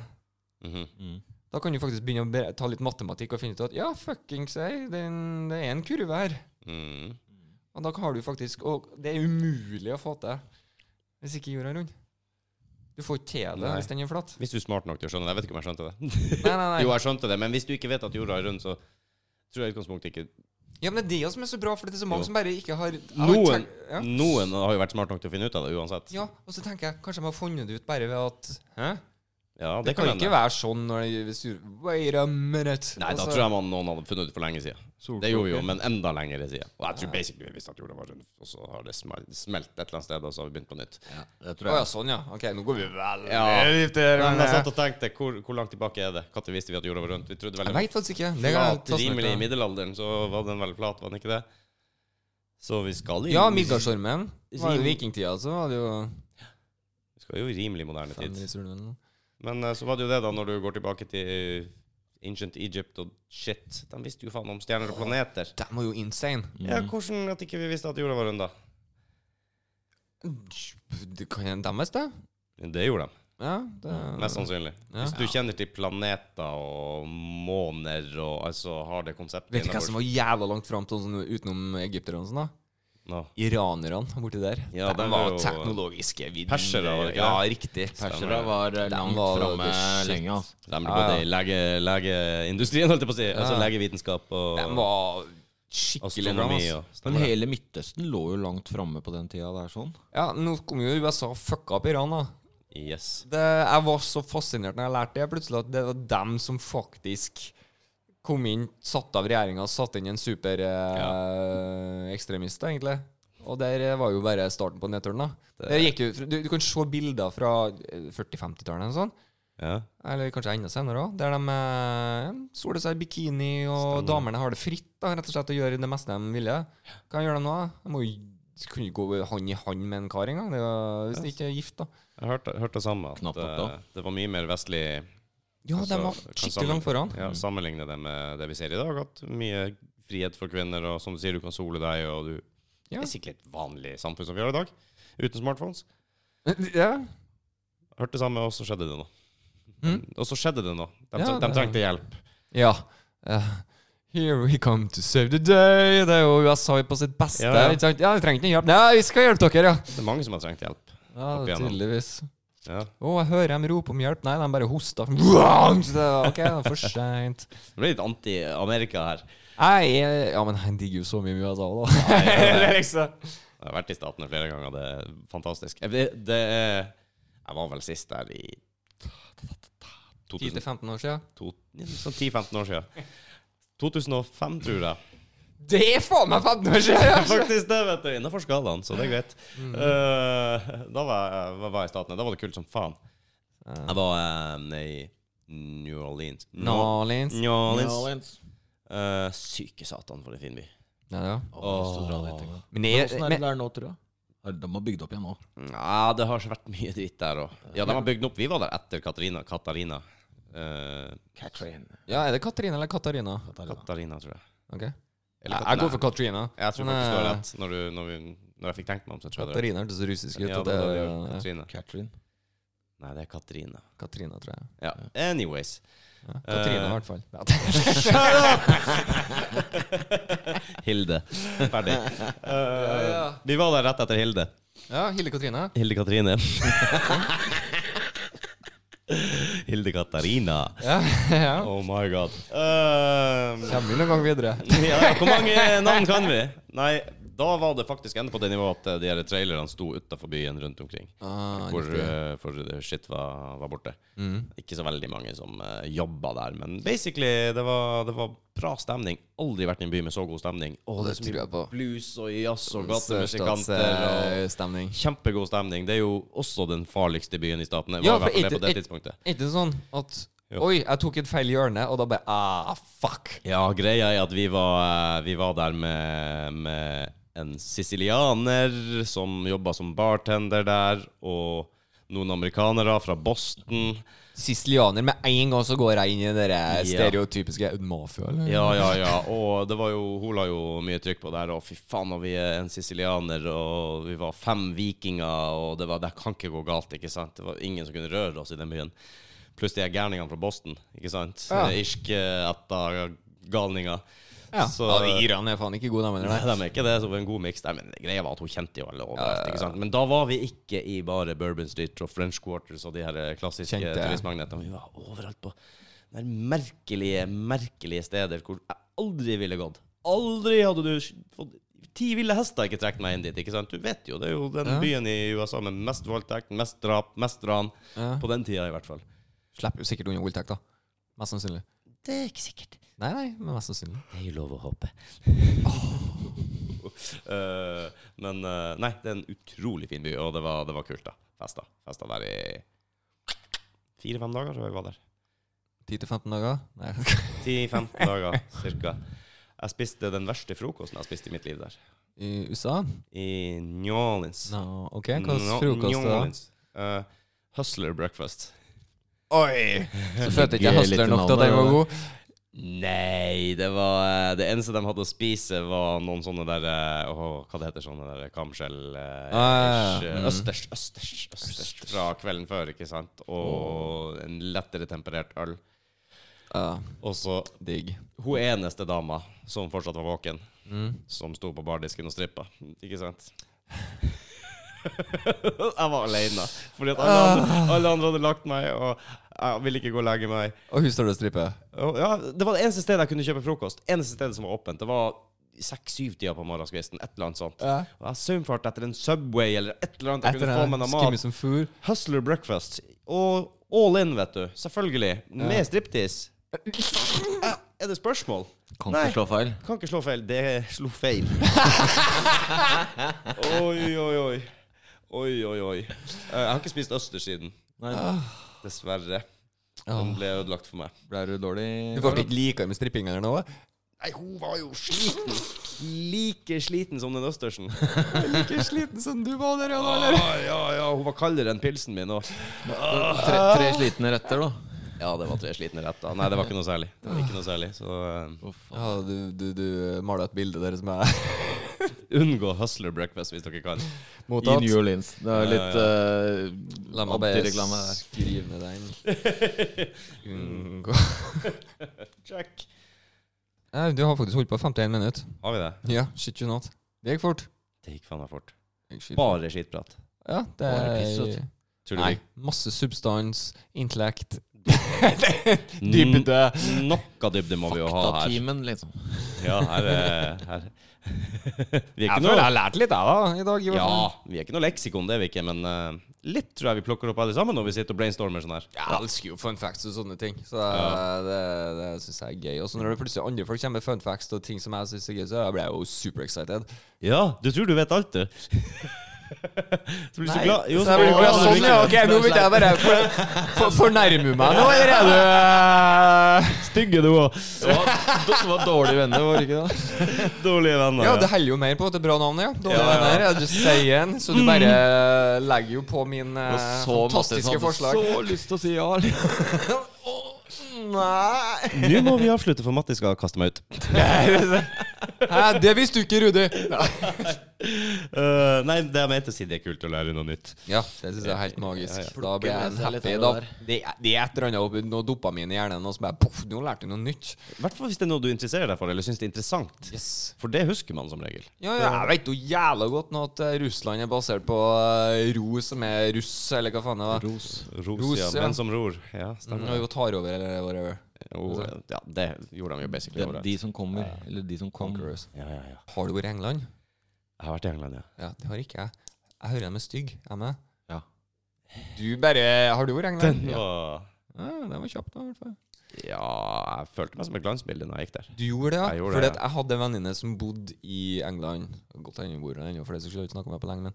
Mhm. Mm. Da kan du faktisk begynne å be- ta litt matematikk og finne ut at ja, fuckings ei, den- det er en kurve her. Mhm. Og da har du faktisk Og det er umulig å få til hvis ikke jorda er rund. Du får ikke til det Nei. hvis den er flat. Hvis du er smart nok til å skjønne det. Jeg vet ikke om jeg skjønte det. <laughs> Nei, nei, nei. Jo, jeg skjønte det, men hvis du ikke vet at jorda er rund, så tror jeg i utgangspunktet ikke Ja, men det er det som er så bra, for det er så mange Jo. som bare ikke har jeg har ikke Noen, tenkt- ja. noen har jo vært smart nok til å finne ut av det uansett. Ja, og så tenker jeg kanskje de har funnet det ut bare ved at Hæ? Ja, Det, kan ikke være altså- sånn når de hvis du Wait a minute. Nei, da tror jeg man, noen hadde funnet ut for lenge siden. Det gjorde vi jo, men enda lengre siden. Og jeg tror basically vi visste at jorda var rund, og så har det smelt, smelt et eller annet sted, og så har vi begynt på nytt. Ja, det Å tror ja, jeg. sånn, ja. Ok, nå går vi vel Ja. dypt her, Men men jeg eh, satt og tenkte, hvor, hvor langt tilbake er det? Når visste vi at jorda var rundt? Vi trodde Jeg veldig veit faktisk ikke. Det kan jeg flat, ta snakk rimelig om. i middelalderen, så var den veldig flat, var den ikke det? Så vi skal i Ja, Midgardsormen. Var det Rim- vikingtida, så var det jo Vi skal jo i rimelig moderne tid. Fenrisulven. Men eh, så var det jo det, da, når du går tilbake til eh, Ancient Egypt og shit De visste jo faen om stjerner og planeter. De var jo insane. Ja, hvordan at ikke vi visste at jorda var rund, da? Det kan hende dem visste det. Det gjorde de. Ja, det Mest sannsynlig. Ja. Hvis du kjenner til planeter og måner og altså har det konseptet Vet du hvem innabords. som var jævla langt fram til sånn, utenom egypterne? og Sånn, da? Nå. Iranerne borti der. Ja, de dem var var jo- teknologiske videre. Persere, var det ikke Ja, det? riktig. Persere var eh, Den langt var framme the shit. lenge. Altså. De ble både i lege, legeindustrien, holdt jeg på å si. Altså legevitenskap og De var skikkelig bra. astronomi. ass. Og, Men Stemmer det. hele Midtøsten lå jo langt framme på den tida der, sånn. Ja, nå kom jo USA og fucka opp Iran, da. yes. det, jeg var så fascinert når jeg lærte det plutselig, at det var dem som faktisk kom inn, satt av regjeringa, satte inn en superekstremist, egentlig. Og der eh, var jo bare starten på nedturen, da. Det gikk jo, du, du kan se bilder fra eh, 40-50-tallet eller noe sånt, Ja. eller kanskje enda senere òg, der de eh, soler seg i bikini, og damene har det fritt, da, rett og slett, og gjør det meste de ville. Hva gjør de nå? da? De må jo kunne jo gå hånd i hånd med en kar engang, det er jo- hvis de ikke er gift, da. Jeg hørte, hørte det samme. At Knapt nok eh, da. det var mye mer vestlig Ja, de Altså, var kan skikkelig sammen- langt foran. <laughs> Mm. ja, Sammenligne det med det vi ser i dag. At mye frihet for kvinner, og som du sier, du kan sole deg, og du Ja. Det er sikkert et vanlig samfunn som vi har i dag, uten smartphones. Ja. Hørte det samme, og så skjedde det noe. Mm. Og så skjedde det noe. De, Ja, tre- de det- trengte hjelp. ja. Eh, here we come to save the day. Det er jo USA på sitt beste. Ja, ja. ikke sant? ja vi trenger ikke hjelp. Nei, vi skal hjelpe dere, ja. Det er mange som har trengt hjelp. ja Opp igjennom. tydeligvis. Ja. Å, jeg hører dem rope om hjelp. Nei, de bare hoster. <laughs> Vrang! Så det- OK, det er for seint. Det ble litt anti-Amerika <laughs> her. Jeg er- Ja, men jeg digger jo så mye med USA, da. det er liksom Jeg har vært i Statene flere ganger, det er fantastisk. Jeg, vet- det er, jeg var vel sist der i 2000 10-15 år siden. to- Sånn 10-15 år siden. <laughs> 2005, tror jeg. Det er faen meg 15 år siden! ja. Faktisk det, vet du. Innenfor skalaen, så det er greit. Mm. Eh, da var jeg, hva var jeg i Statene. Da var det kult som faen. Jeg var eh, i New Orleans. New Orleans. New Orleans. Orleans. Eh, syke satan for en fin by. Ja, det var. Åh. Men jeg, Åssen Sånn er det men, der nå, tror jeg? Er det- De Eh, har bygd opp igjen nå. Ja, det har vært mye dritt der òg. Ja, de har bygd den opp. Vi var der etter Katarina. Katarina. Eh, ja, er det Katrine eller Katarina? Katarina, tror jeg. Ok Eller Jeg, jeg går for Katrina. Jeg tror Men, faktisk du har eh, rett. Når, du, når, vi, når jeg fikk tenkt meg om, så tror jeg det. Katarina hørtes russisk ut. Ja, og det det, var det ja, vi gjorde. ja. Katrina. Catherine. Nei, det er Katarina. Katrina, tror jeg. Ja. Anyways. Ja. Katrine, Eh, i hvert <laughs> fall. Hilde. <laughs> Ferdig. Eh, ja. Vi var der rett etter Hilde. ja, Hilde Katrine. Hilde Katrine. <laughs> Hilde Katarina. Ja, ja. Oh my god. Eh, Kommer vi noen gang videre? ja, ja, hvor mange <laughs> navn kan vi? Nei, da var det faktisk enda på det nivået at eh, de her trailerne sto utafor byen rundt omkring. Ah, Hvor, riktig. eh, for eh, shit var, var borte. Mm. Ikke så veldig mange som uh, jobba der, men basically, det var, det var bra stemning. Aldri vært i en by med så god stemning. Å, det er det så tror mye jeg på. blues og jazz og gatemusikanter. eh, og- Sørstatsstemning. Kjempegod stemning. Det er jo også den farligste byen i statene. Ja, Var i hvert for fall det ikke- på det ikke- tidspunktet. Er ikke det sånn at Jo. Oi, jeg tok et feil hjørne, og da bare Ah, fuck! Ja, greia er at vi var, eh, vi var der med, med en sicilianer som jobba som bartender der, og noen amerikanere fra Boston. Sicilianer. Med en gang så går jeg inn i det der Ja. stereotypiske mafia, eller? Ja, ja, ja. Og det var jo, hun la jo mye trykk på det her, og fy faen, og vi er en sicilianer, og vi var fem vikinger, og det, var, det kan ikke gå galt, ikke sant? Det var ingen som kunne røre oss i den byen. Pluss de her gærningene fra Boston, ikke sant? Ja. Irske etter galninger. Ja. Så- ja de Irene er faen ikke gode, de Nei, heller. de er ikke det. Så det var en god miks. Nei, men Greia var at hun kjente jo alle overalt. ikke sant? Men da var vi ikke i bare Bourbon Street og French Quarters og de her eh, klassiske Kjente. turistmagnetene. Vi var overalt på de her merkelige, merkelige steder hvor jeg aldri ville gått. Aldri hadde du fått Ti ville hester ikke trukket meg inn dit. ikke sant? Du vet jo, det er jo den byen i USA med mest voldtekt, mest drap, mest ran. På den tida, i hvert fall. Slipper jo sikkert unna voldtekt, da. Mest sannsynlig. Det er ikke sikkert. Nei, nei, men mest sannsynlig. Det er jo lov å håpe. <laughs> Eh, men eh, nei, det er en utrolig fin by, og det var, det var kult, da. Festa. Festa der i fire-fem dager, tror jeg vi var der. 10-15 dager? Nei. <laughs> 10-15 <laughs> dager, cirka. Jeg spiste den verste frokosten jeg har spist i mitt liv der. I USA? I New Orleans. No, ok, hva slags New- frokost New er det? Orleans. Eh, hustler breakfast. Oi! Så følte ikke ligger jeg litt i hustler nok til at den var navnet, god. Nei, det var eh, Det eneste de hadde å spise, var noen sånne der eh, Åh, hva det heter sånne der kamskjell eh, Ah, ja. ish, eh, Østers, østers, østers fra kvelden før, ikke sant? Og en lettere temperert øl. Ja, Og så digg. hun eneste dama som fortsatt var våken, Mm. som sto på bardisken og strippa. Ikke sant? <laughs> jeg var aleine, fordi at alle andre, Ah. alle andre hadde lagt meg, og jeg ville ikke gå og legge meg. Og hun står og stripper. Og Ja, det var det eneste stedet jeg kunne kjøpe frokost. Eneste stedet som var åpent. Det var seks-syv-tida på morgenskvisten. Et eller annet sånt. Ja. Og jeg saumfarte etter en Subway eller et eller annet jeg Etter kunne få meg den noe mat. skimmy som fur. Hustler breakfast. Og all in, vet du. Selvfølgelig. Med striptease. Ja, Er det spørsmål? Kan Nei. ikke slå feil. Kan ikke slå feil. Det slo <laughs> feil. oi, oi, oi. Oi, oi, oi. Eh, Jeg har ikke spist østers siden. Nei, Dessverre. Den ble ødelagt for meg. Ble du dårlig? Du får ikke likere med stripping eller noe? Nei, hun var jo sliten. Like sliten som den østersen. Like sliten som du var der, Jan Arne. Ah, <laughs> ja, ja, hun var kaldere enn pilsen min òg. Tre, tre slitne retter, da. Ja, det var tre slitne retter. Nei, det var ikke noe særlig. Det var ikke noe særlig Så eh, Ja, du, du, du eh, maler et bilde der som er unngå hustler breakfast hvis dere kan. I mottatt. New Orleans. Det er litt eh, La meg bare antireklame der. skrive ned den. Unngå Check. Nei, Du har faktisk holdt på 51 minutter. Har vi det? Ja, shit you not. Det gikk fort. Det gikk faen meg fort. Det gikk skitt. Bare skittprat. Ja, det Bare piss, vet er du. Tror du Nei. vi- Masse substans, intellekt N- Noe dybde må vi jo ha her. Faktatimen, liksom. Ja, her, er- her. <laughs> Vi er Jeg ikke føler jeg noe har lært litt, jeg, da, i dag. i hvert fall. ja, vi er ikke noe leksikon, det er vi ikke, men eh, litt tror jeg vi plukker opp alle sammen når vi sitter og brainstormer sånn her. Jeg elsker jo fun facts og sånne ting, så eh, det, det syns jeg er gøy. Og så når det plutselig andre folk kommer med fun facts og ting som jeg syns er gøy, så blir jeg jo superexcited. Ja, du tror du vet alt, du. <laughs> så blir du så glad. Jo, så jeg blir, «Å, blir du ja, glad når du sånn, ja. ikke Ok, nå begynte jeg bare for, for, Fornærmer meg nå, eller er eh, du vet. <laughs> Stygge du òg. Det var, det var dårlige venner, var det ikke det? <laughs> Dårlige venner. Ja, det heller jo mer på at det er bra navn, ja. Dårlige Ja, ja. venner. Ja, just saying. Så du bare legger jo på min eh, Og Mm. så Mattis fantastiske hadde forslag. Så lyst til å si ja. liksom. <laughs> Nei Nå må vi avslutte, for Matti skal kaste meg ut. Hæ, det visste du ikke, Rudi! <laughs> Eh, nei, det jeg mente å si, det er kult å lære noe nytt. Ja, det syns jeg er helt magisk. Da blir jeg med seg litt happy. av Da. det Det, er- det er et eller annet oppi noe dopamin i hjernen, og så bare poff, nå lærte jeg noe nytt. I hvert fall hvis det er noe du interesserer deg for, eller syns det er interessant. Yes. For det husker man som regel. Ja, ja, jeg vet jo jævla godt nå at eh, Russland er basert på eh, ro, som er russ, eller hva faen det var. Ros. Ros, Ros, ja. ja. Menn som ror. Ja, stemmer. Når vi tar over, eller whatever. Jo, ja, det gjorde de jo basically Det er de overalt. som kommer, eller de som kom. Conquerors. Ja, ja, ja. Har du vært i England? Jeg har vært i England, ja. Ja, det har ikke jeg. Jeg hører dem er stygg, jeg med. Ja. Du bare Har du vært i England? Den Ja. var ja, det var kjapt, da, i hvert fall. Ja, jeg følte meg som et glansbilde når jeg gikk der. Du gjorde det, ja? Jeg gjorde Fordi det, at jeg hadde en venninne som bodde i England. Godt hende hun bor der ennå, for det skal jeg ikke snakke om det på lenge. Men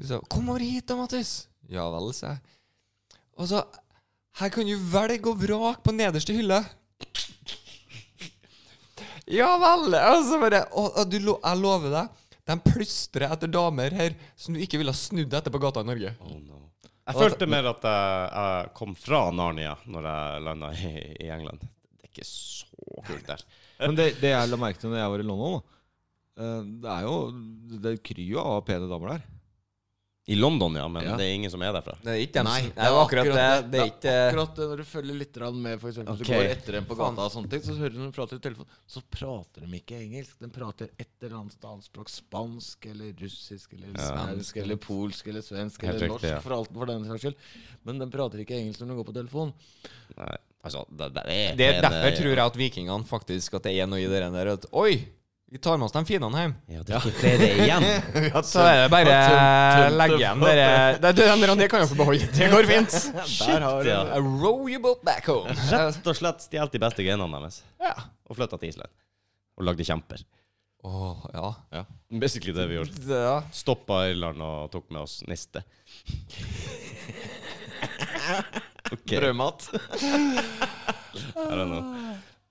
hun sa 'Kom over hit, da, Mattis'. Ja vel, sa jeg. Og så Her kan du velge og vrake på nederste hylle. Ja vel! Og så bare og, og du, lo- Jeg lover deg, de plystrer etter damer her som du ikke ville ha snudd etter på gata i Norge. Oh, Jeg følte mer at jeg, jeg kom fra Narnia når jeg landa i, i England. Det er ikke så kult der. Men det, det jeg la merke til når jeg var i London, da, eh, det er jo Det kryr jo av pene damer der. I London, ja, men Ja. det er ingen som er derfra. Det er ikke dem som- Nei, det var akkurat det. Det er ikke akkurat det når du følger litt grann med, f.eks. Hvis Ok. du går etter dem på gata, og sånne ting, så hører du dem prate i telefonen. Så prater de ikke engelsk. De prater et eller annet annet språk. Spansk eller russisk eller svensk eller polsk eller svensk Helt eller riktig, norsk, ja. for, alt, for den saks skyld. Men de prater ikke engelsk når de går på telefon. Nei, altså, det, det er Det er derfor tror jeg at vikingene faktisk At det er noe i det der at Oi, vi tar med oss de finene hjem. Ja, det er ikke flere <laughs> igjen. Så er det bare tømt- tømt legge det igjen dere Det er den der, det kan jeg få beholde. Det går fint. <laughs> Shit, ja. I row you boat back home. Rett og slett stjålet de beste genene deres Ja. og flytta til Island. Og lagde kjemper. Åh, ja. Basically det vi gjorde. Det, ja. Stoppa Irland og tok med oss <laughs> niste. OK, I Brødmat. don't know.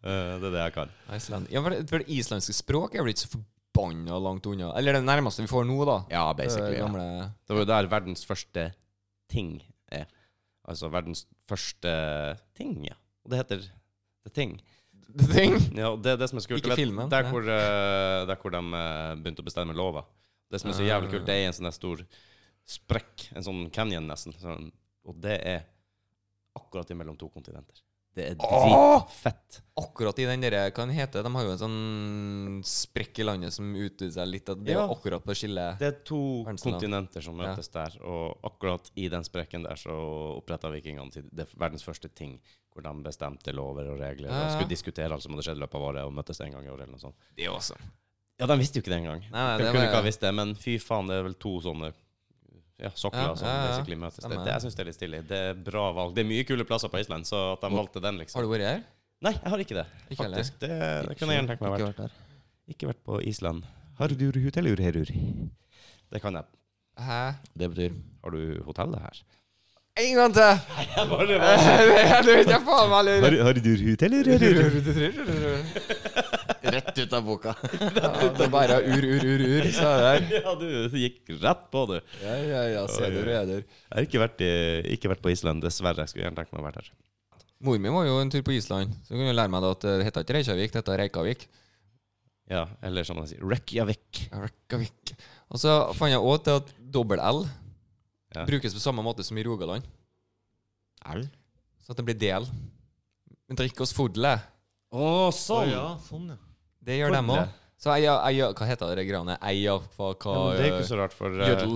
Eh, det er det jeg kan. Iceland. Ja, for det, for det islandske språk er vel ikke så forbanna langt unna? Eller det nærmeste vi får nå, da. Ja, Det basically. Eh, Ja. gamle <laughs> Det var jo der verdens første ting er. Altså verdens første ting, ja. Og det heter The Thing. The thing. Ja, og det er det som er så kult. Ikke Du vet, filmen, Der nei. hvor, eh, der hvor de eh, begynte å bestemme lova. Det som er så Ah. jævlig kult, det er en sånn der stor sprekk, en sånn canyon nesten. Sånn, og det er akkurat imellom to kontinenter. Det er Åh! dritfett. Akkurat i den derre Hva den heter De har jo en sånn sprekk i landet som utvider seg litt. At det er Ja. jo akkurat på skillet. Det er to Verdensland. kontinenter som møtes der, og akkurat i den sprekken der så oppretta vikingene til det verdens første ting, hvor de bestemte lover og regler. Ja, og ja. skulle diskutere alt som hadde skjedd i løpet av året, og møttes en gang i året eller noe sånt. Det er awesome. Ja, de visste jo ikke det engang. Nei, nei, De det kunne ikke var- ha visst det, men fy faen, det er vel to sånne ja, sokler Ja, som ja, ja. basically møtes. Det, Stemmer. det, jeg syns det er litt stilig. Det er bra valg. Det er mye kule plasser på Island, så at de valgte den, liksom. Har du vært her? Nei, jeg har ikke det. Ikke heller. Faktisk. Det, det kunne jeg gjerne tenkt meg å Ikke vært. vært der. Ikke vært på Island. Har du hotellur herur? Det kan jeg. Hæ? Det betyr Har du hotellet her? En gang til! <laughs> Det vet jeg faen meg lurer. du hotellur Rett ut av boka. <laughs> Ja, det er bare ur, ur, ur, ur, sa jeg der. Ja, du gikk rett på, du. Ja, ja, ja, seder og eder. Jeg har ikke vært, i, ikke vært på Island, dessverre. Jeg skulle gjerne tenkt meg å være der. Mor mi var jo en tur på Island, så hun kunne jo lære meg da at eh, det heter ikke Reykjavik, det heter Reykjavik. Ja, eller som man sier, Reykjavik. Reykjavik. Og så fant jeg også til at dobbel L Ja. brukes på samme måte som i Rogaland. L? Så at det blir del. Men drikk oss fodle. Å, sånn! ja, <laughs> sånn, ja. Det gjør dem Fodle. òg. Så eia, eia, hva heter det greiene? Eia, hva, hva men det er jo ikke så rart, for eh, Jødel.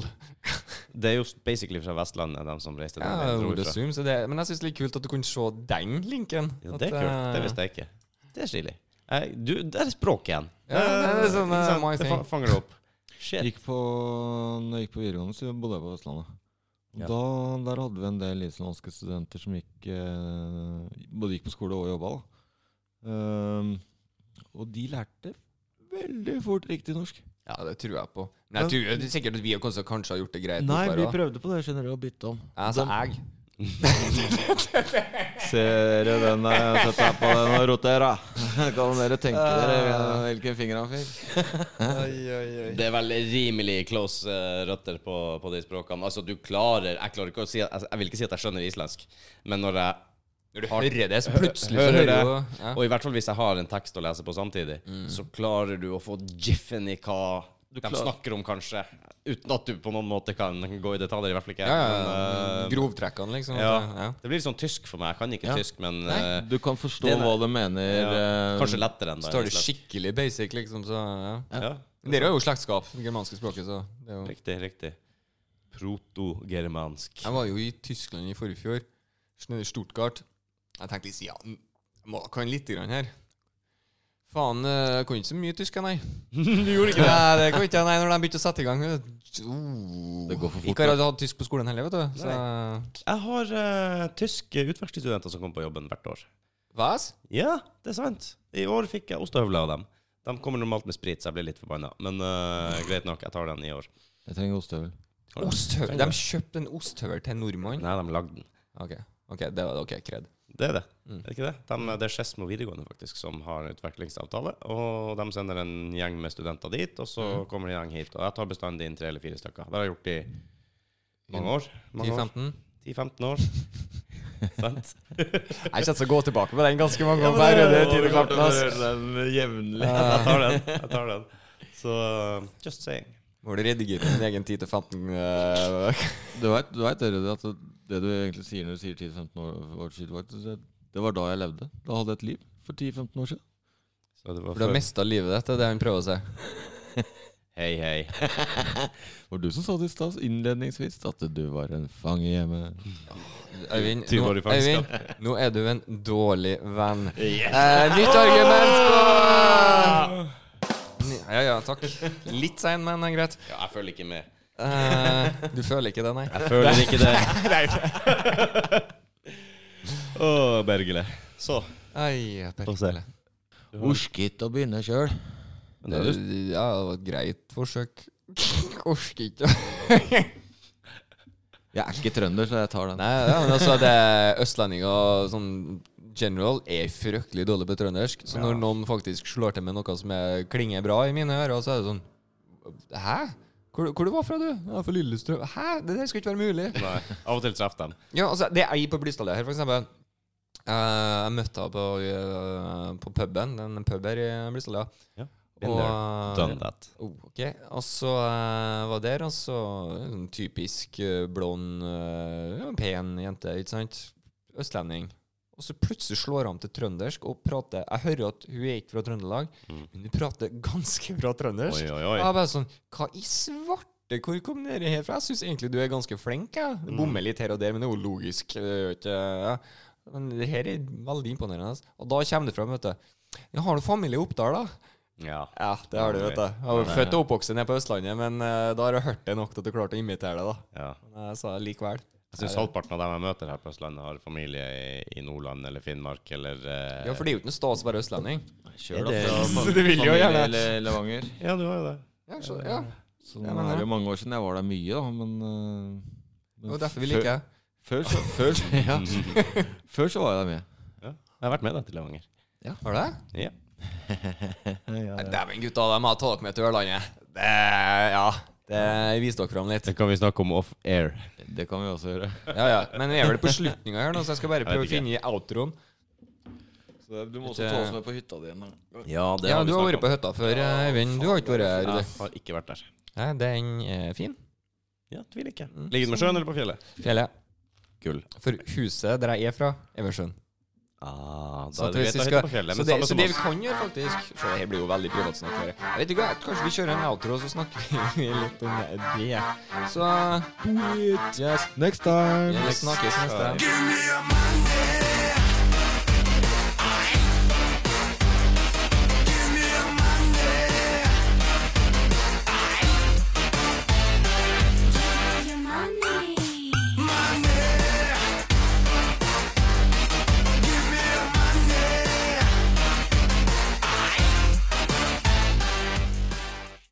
det er jo basically fra Vestlandet, de som reiste Ja, der. Rode Zoom, så det, men jeg syns det er litt kult at du kunne se den linken. eh, Ja, det er kult. Det visste jeg ikke. Det er stilig. Eh, Du, det er språk igjen. Ja, det er Eh, sånn, ikke eh, sant? my Det thing. fa- fanger det opp. Shit. Gikk på, når jeg gikk på videregående, så bodde jeg på Vestlandet. Og Ja. Da, der hadde vi en del islandske studenter som gikk, eh, både gikk på skole og jobba. Da. Ehm, og de lærte veldig fort riktig norsk. Ja, det tror jeg på. Men jeg tror det er sikkert at vi også kanskje har gjort det greit. Nei, oppå her vi også. prøvde på det, skjønner du, å bytte om. Altså, jeg. Ser du den der? Sett deg på den og roter, da. Kan dere tenke dere hvilken finger han fikk? Det er vel rimelig close eh, røtter på, på de språkene. Altså, du klarer Jeg klarer ikke å si altså, Jeg vil ikke si at jeg skjønner islandsk, men når jeg Når du hører det, så plutselig så hører hører det, du jo ja. Mm. og i hvert fall hvis jeg har en tekst å lese på samtidig, så klarer du å få jiffen i hva de klarer- snakker om, kanskje. Uten at du på noen måte kan gå i detaljer. I hvert fall ikke jeg. Ja, ja, men, eh, ja. Grovtrekkene, liksom. ja. at det- ja. Det blir litt sånn tysk for meg. Jeg kan ikke Ja. tysk, men eh, <laughs> Du kan forstå Det er- hva du mener. eh, kanskje lettere enn da, Står det islandsk. skikkelig basic, liksom, så ja. Ja. Men dere har jo slektskap, det germanske språket, så det er jo Riktig, riktig. Protogermansk. Jeg var jo i Tyskland i forrige fjor, nede i Stuttgart. Jeg tenkte liksom, ja, n- jeg må kan litt grann her. Faen, eh, jeg kunne ikke så mye tysk, jeg, nei. <laughs> du gjorde Nei, det kunne ikke jeg, nei, når de begynte å sette i gang. Oh. Det går for fort, Ikke har jeg hatt tysk på skolen heller, vet du. Så, Jeg har eh, tyske utvekslingsstudenter som kommer på jobben hvert år. hva? Ja, det er sant. I år fikk jeg ostehøvler av dem. De kommer normalt med sprit, så jeg blir litt forbanna. Men eh, greit nok, jeg tar den i år. Jeg trenger ostehøvel. Har du- Osthøvel. De kjøpte en osthøvel til en nordmann. Nei, de lagde den. Ok, ok, det var ok, kred. Det er det. Mm. Er det ikke det? De, det er Skedsmo videregående faktisk som har en utvekslingsavtale. Og de sender en gjeng med studenter dit, og så Mm. kommer det en gjeng hit. Og jeg tar bestandig inn tre eller fire stykker. Det har jeg gjort i mange år. Mange år. 10-15? 10-15 år. Sant? <laughs> Jeg kjenner å gå tilbake på den ganske mange Ja, men ganger. det- det det- det- tidekartene, ass. Jeg jeg tar den. Jeg tar den. Så eh, just saying. Må du redigere din egen 10-15 <laughs> eh, Du veit, du vet, Rudi, at det du egentlig sier når du sier 10-15 år, år siden, faktisk, det- det var da jeg levde. Da hadde jeg et liv for 10-15 år siden. Så det var For du har før. mista livet ditt, det er det han prøver å si. Hei, hei. <laughs> Det var du som sa det i stad, innledningsvis, at du var en fange hjemme. Øyvind, Tyve nå, år i fangenskap. Øyvind, nå er du en dårlig venn. Eh, nytt Ah. argument på Ja, ja, takk. Litt sein, men eh, greit. Ja, jeg føler ikke med. Eh, du føler ikke det, nei? Jeg føler ikke <laughs> det. <laughs> Å, Bergele. Så. Ai, Få se. Berkele. Orsket å begynne sjøl. Eh, Ja, det er det var et greit forsøk. Orker ikke. Jeg er ikke trønder, så jeg tar den. Nei, ja, men altså det Østlendinger sånn general er fryktelig dårlig på trøndersk. Så når noen faktisk slår til med noe som er, klinger bra i mine ører, så er det sånn Hæ? Hvor, hvor du var fra, du? Ja, fra Lillestrøm. Hæ? Det der skal ikke være mulig. Nei, Av og til treffer dem. Ja, altså, det er jeg på Blystadlia her, for eksempel. Eh, jeg møtte henne på, eh, på puben, en pub her i Blystadlia. Ja, Og, been Done that. oh, ok, og så eh, var der, og så en typisk eh, blond, eh, ja, pen jente, ikke sant? Østlending. Og så plutselig slår han til trøndersk og prater Jeg hører at hun er ikke fra Trøndelag, Mm. men hun prater ganske bra trøndersk. Oi, oi, Og oi. Jeg bare sånn Hva i svarte? Hvor kom dere her fra? Jeg syns egentlig du er ganske flink. Jeg. Mm. Du Bommer litt her og der, men det er jo logisk. Det er jo ikke, ja. Men det her er veldig imponerende. altså. Og da kommer det fram, vet du. Ja, har du familie i Oppdal, da? Ja. Ja, det har du, vet du. Jeg var født og oppvokst nede på Østlandet, men eh, da har jeg hørt det nok til at du klarte å imitere det, da. ja. Men jeg sa det likevel. Jeg syns halvparten av dem jeg møter her på Østlandet, har familie i, i Nordland eller Finnmark eller eh, Ja, for det er jo ikke noe stas å være østlending. Kjør Er da det- <laughs> fra Så fam- du vil jo familie gjerne. eller Levanger. ja, du har jo det. Ja, så, ja. Så Jeg nå mener er det det. jo mange år siden jeg var der mye, da, men, eh, men Det var derfor vi før- liker det. Før så, før, så- <laughs> ja. før så var jeg der med. Ja. Jeg har vært med deg til Levanger. Har du det? Ja. Nei, Dæven, gutta, de har tatt dere med til Ørlandet. Det, ja, det viser dere fram litt. Det kan vi snakke om off-air. Det kan vi også gjøre. Ja, ja. Men vi er vel på slutninga her nå, så jeg skal bare Jeg vet prøve å ikke. finne i outroen. Så du må også ta oss med på hytta di en gang. Ja, Ja, du har vært på hytta før, eh, Øyvind. Du har ikke vært her. Jeg du. har ikke vært der. Nei, den er fin. Ja, tviler ikke. Ligger den med sjøen eller på fjellet? Fjellet. Gull. For huset der jeg er fra, er ved sjøen. Ah, da Så, er at det hvis greit vi å skal, hytte på fjellet. så, Men det, samme så som det vi oss. kan gjøre, faktisk Så det her blir jo veldig privatsnakk. her. Jeg vet ikke, hva, kanskje vi kjører en outro, så snakker vi <laughs> litt om det. Så Next time! vi snakkes neste. Give me a man.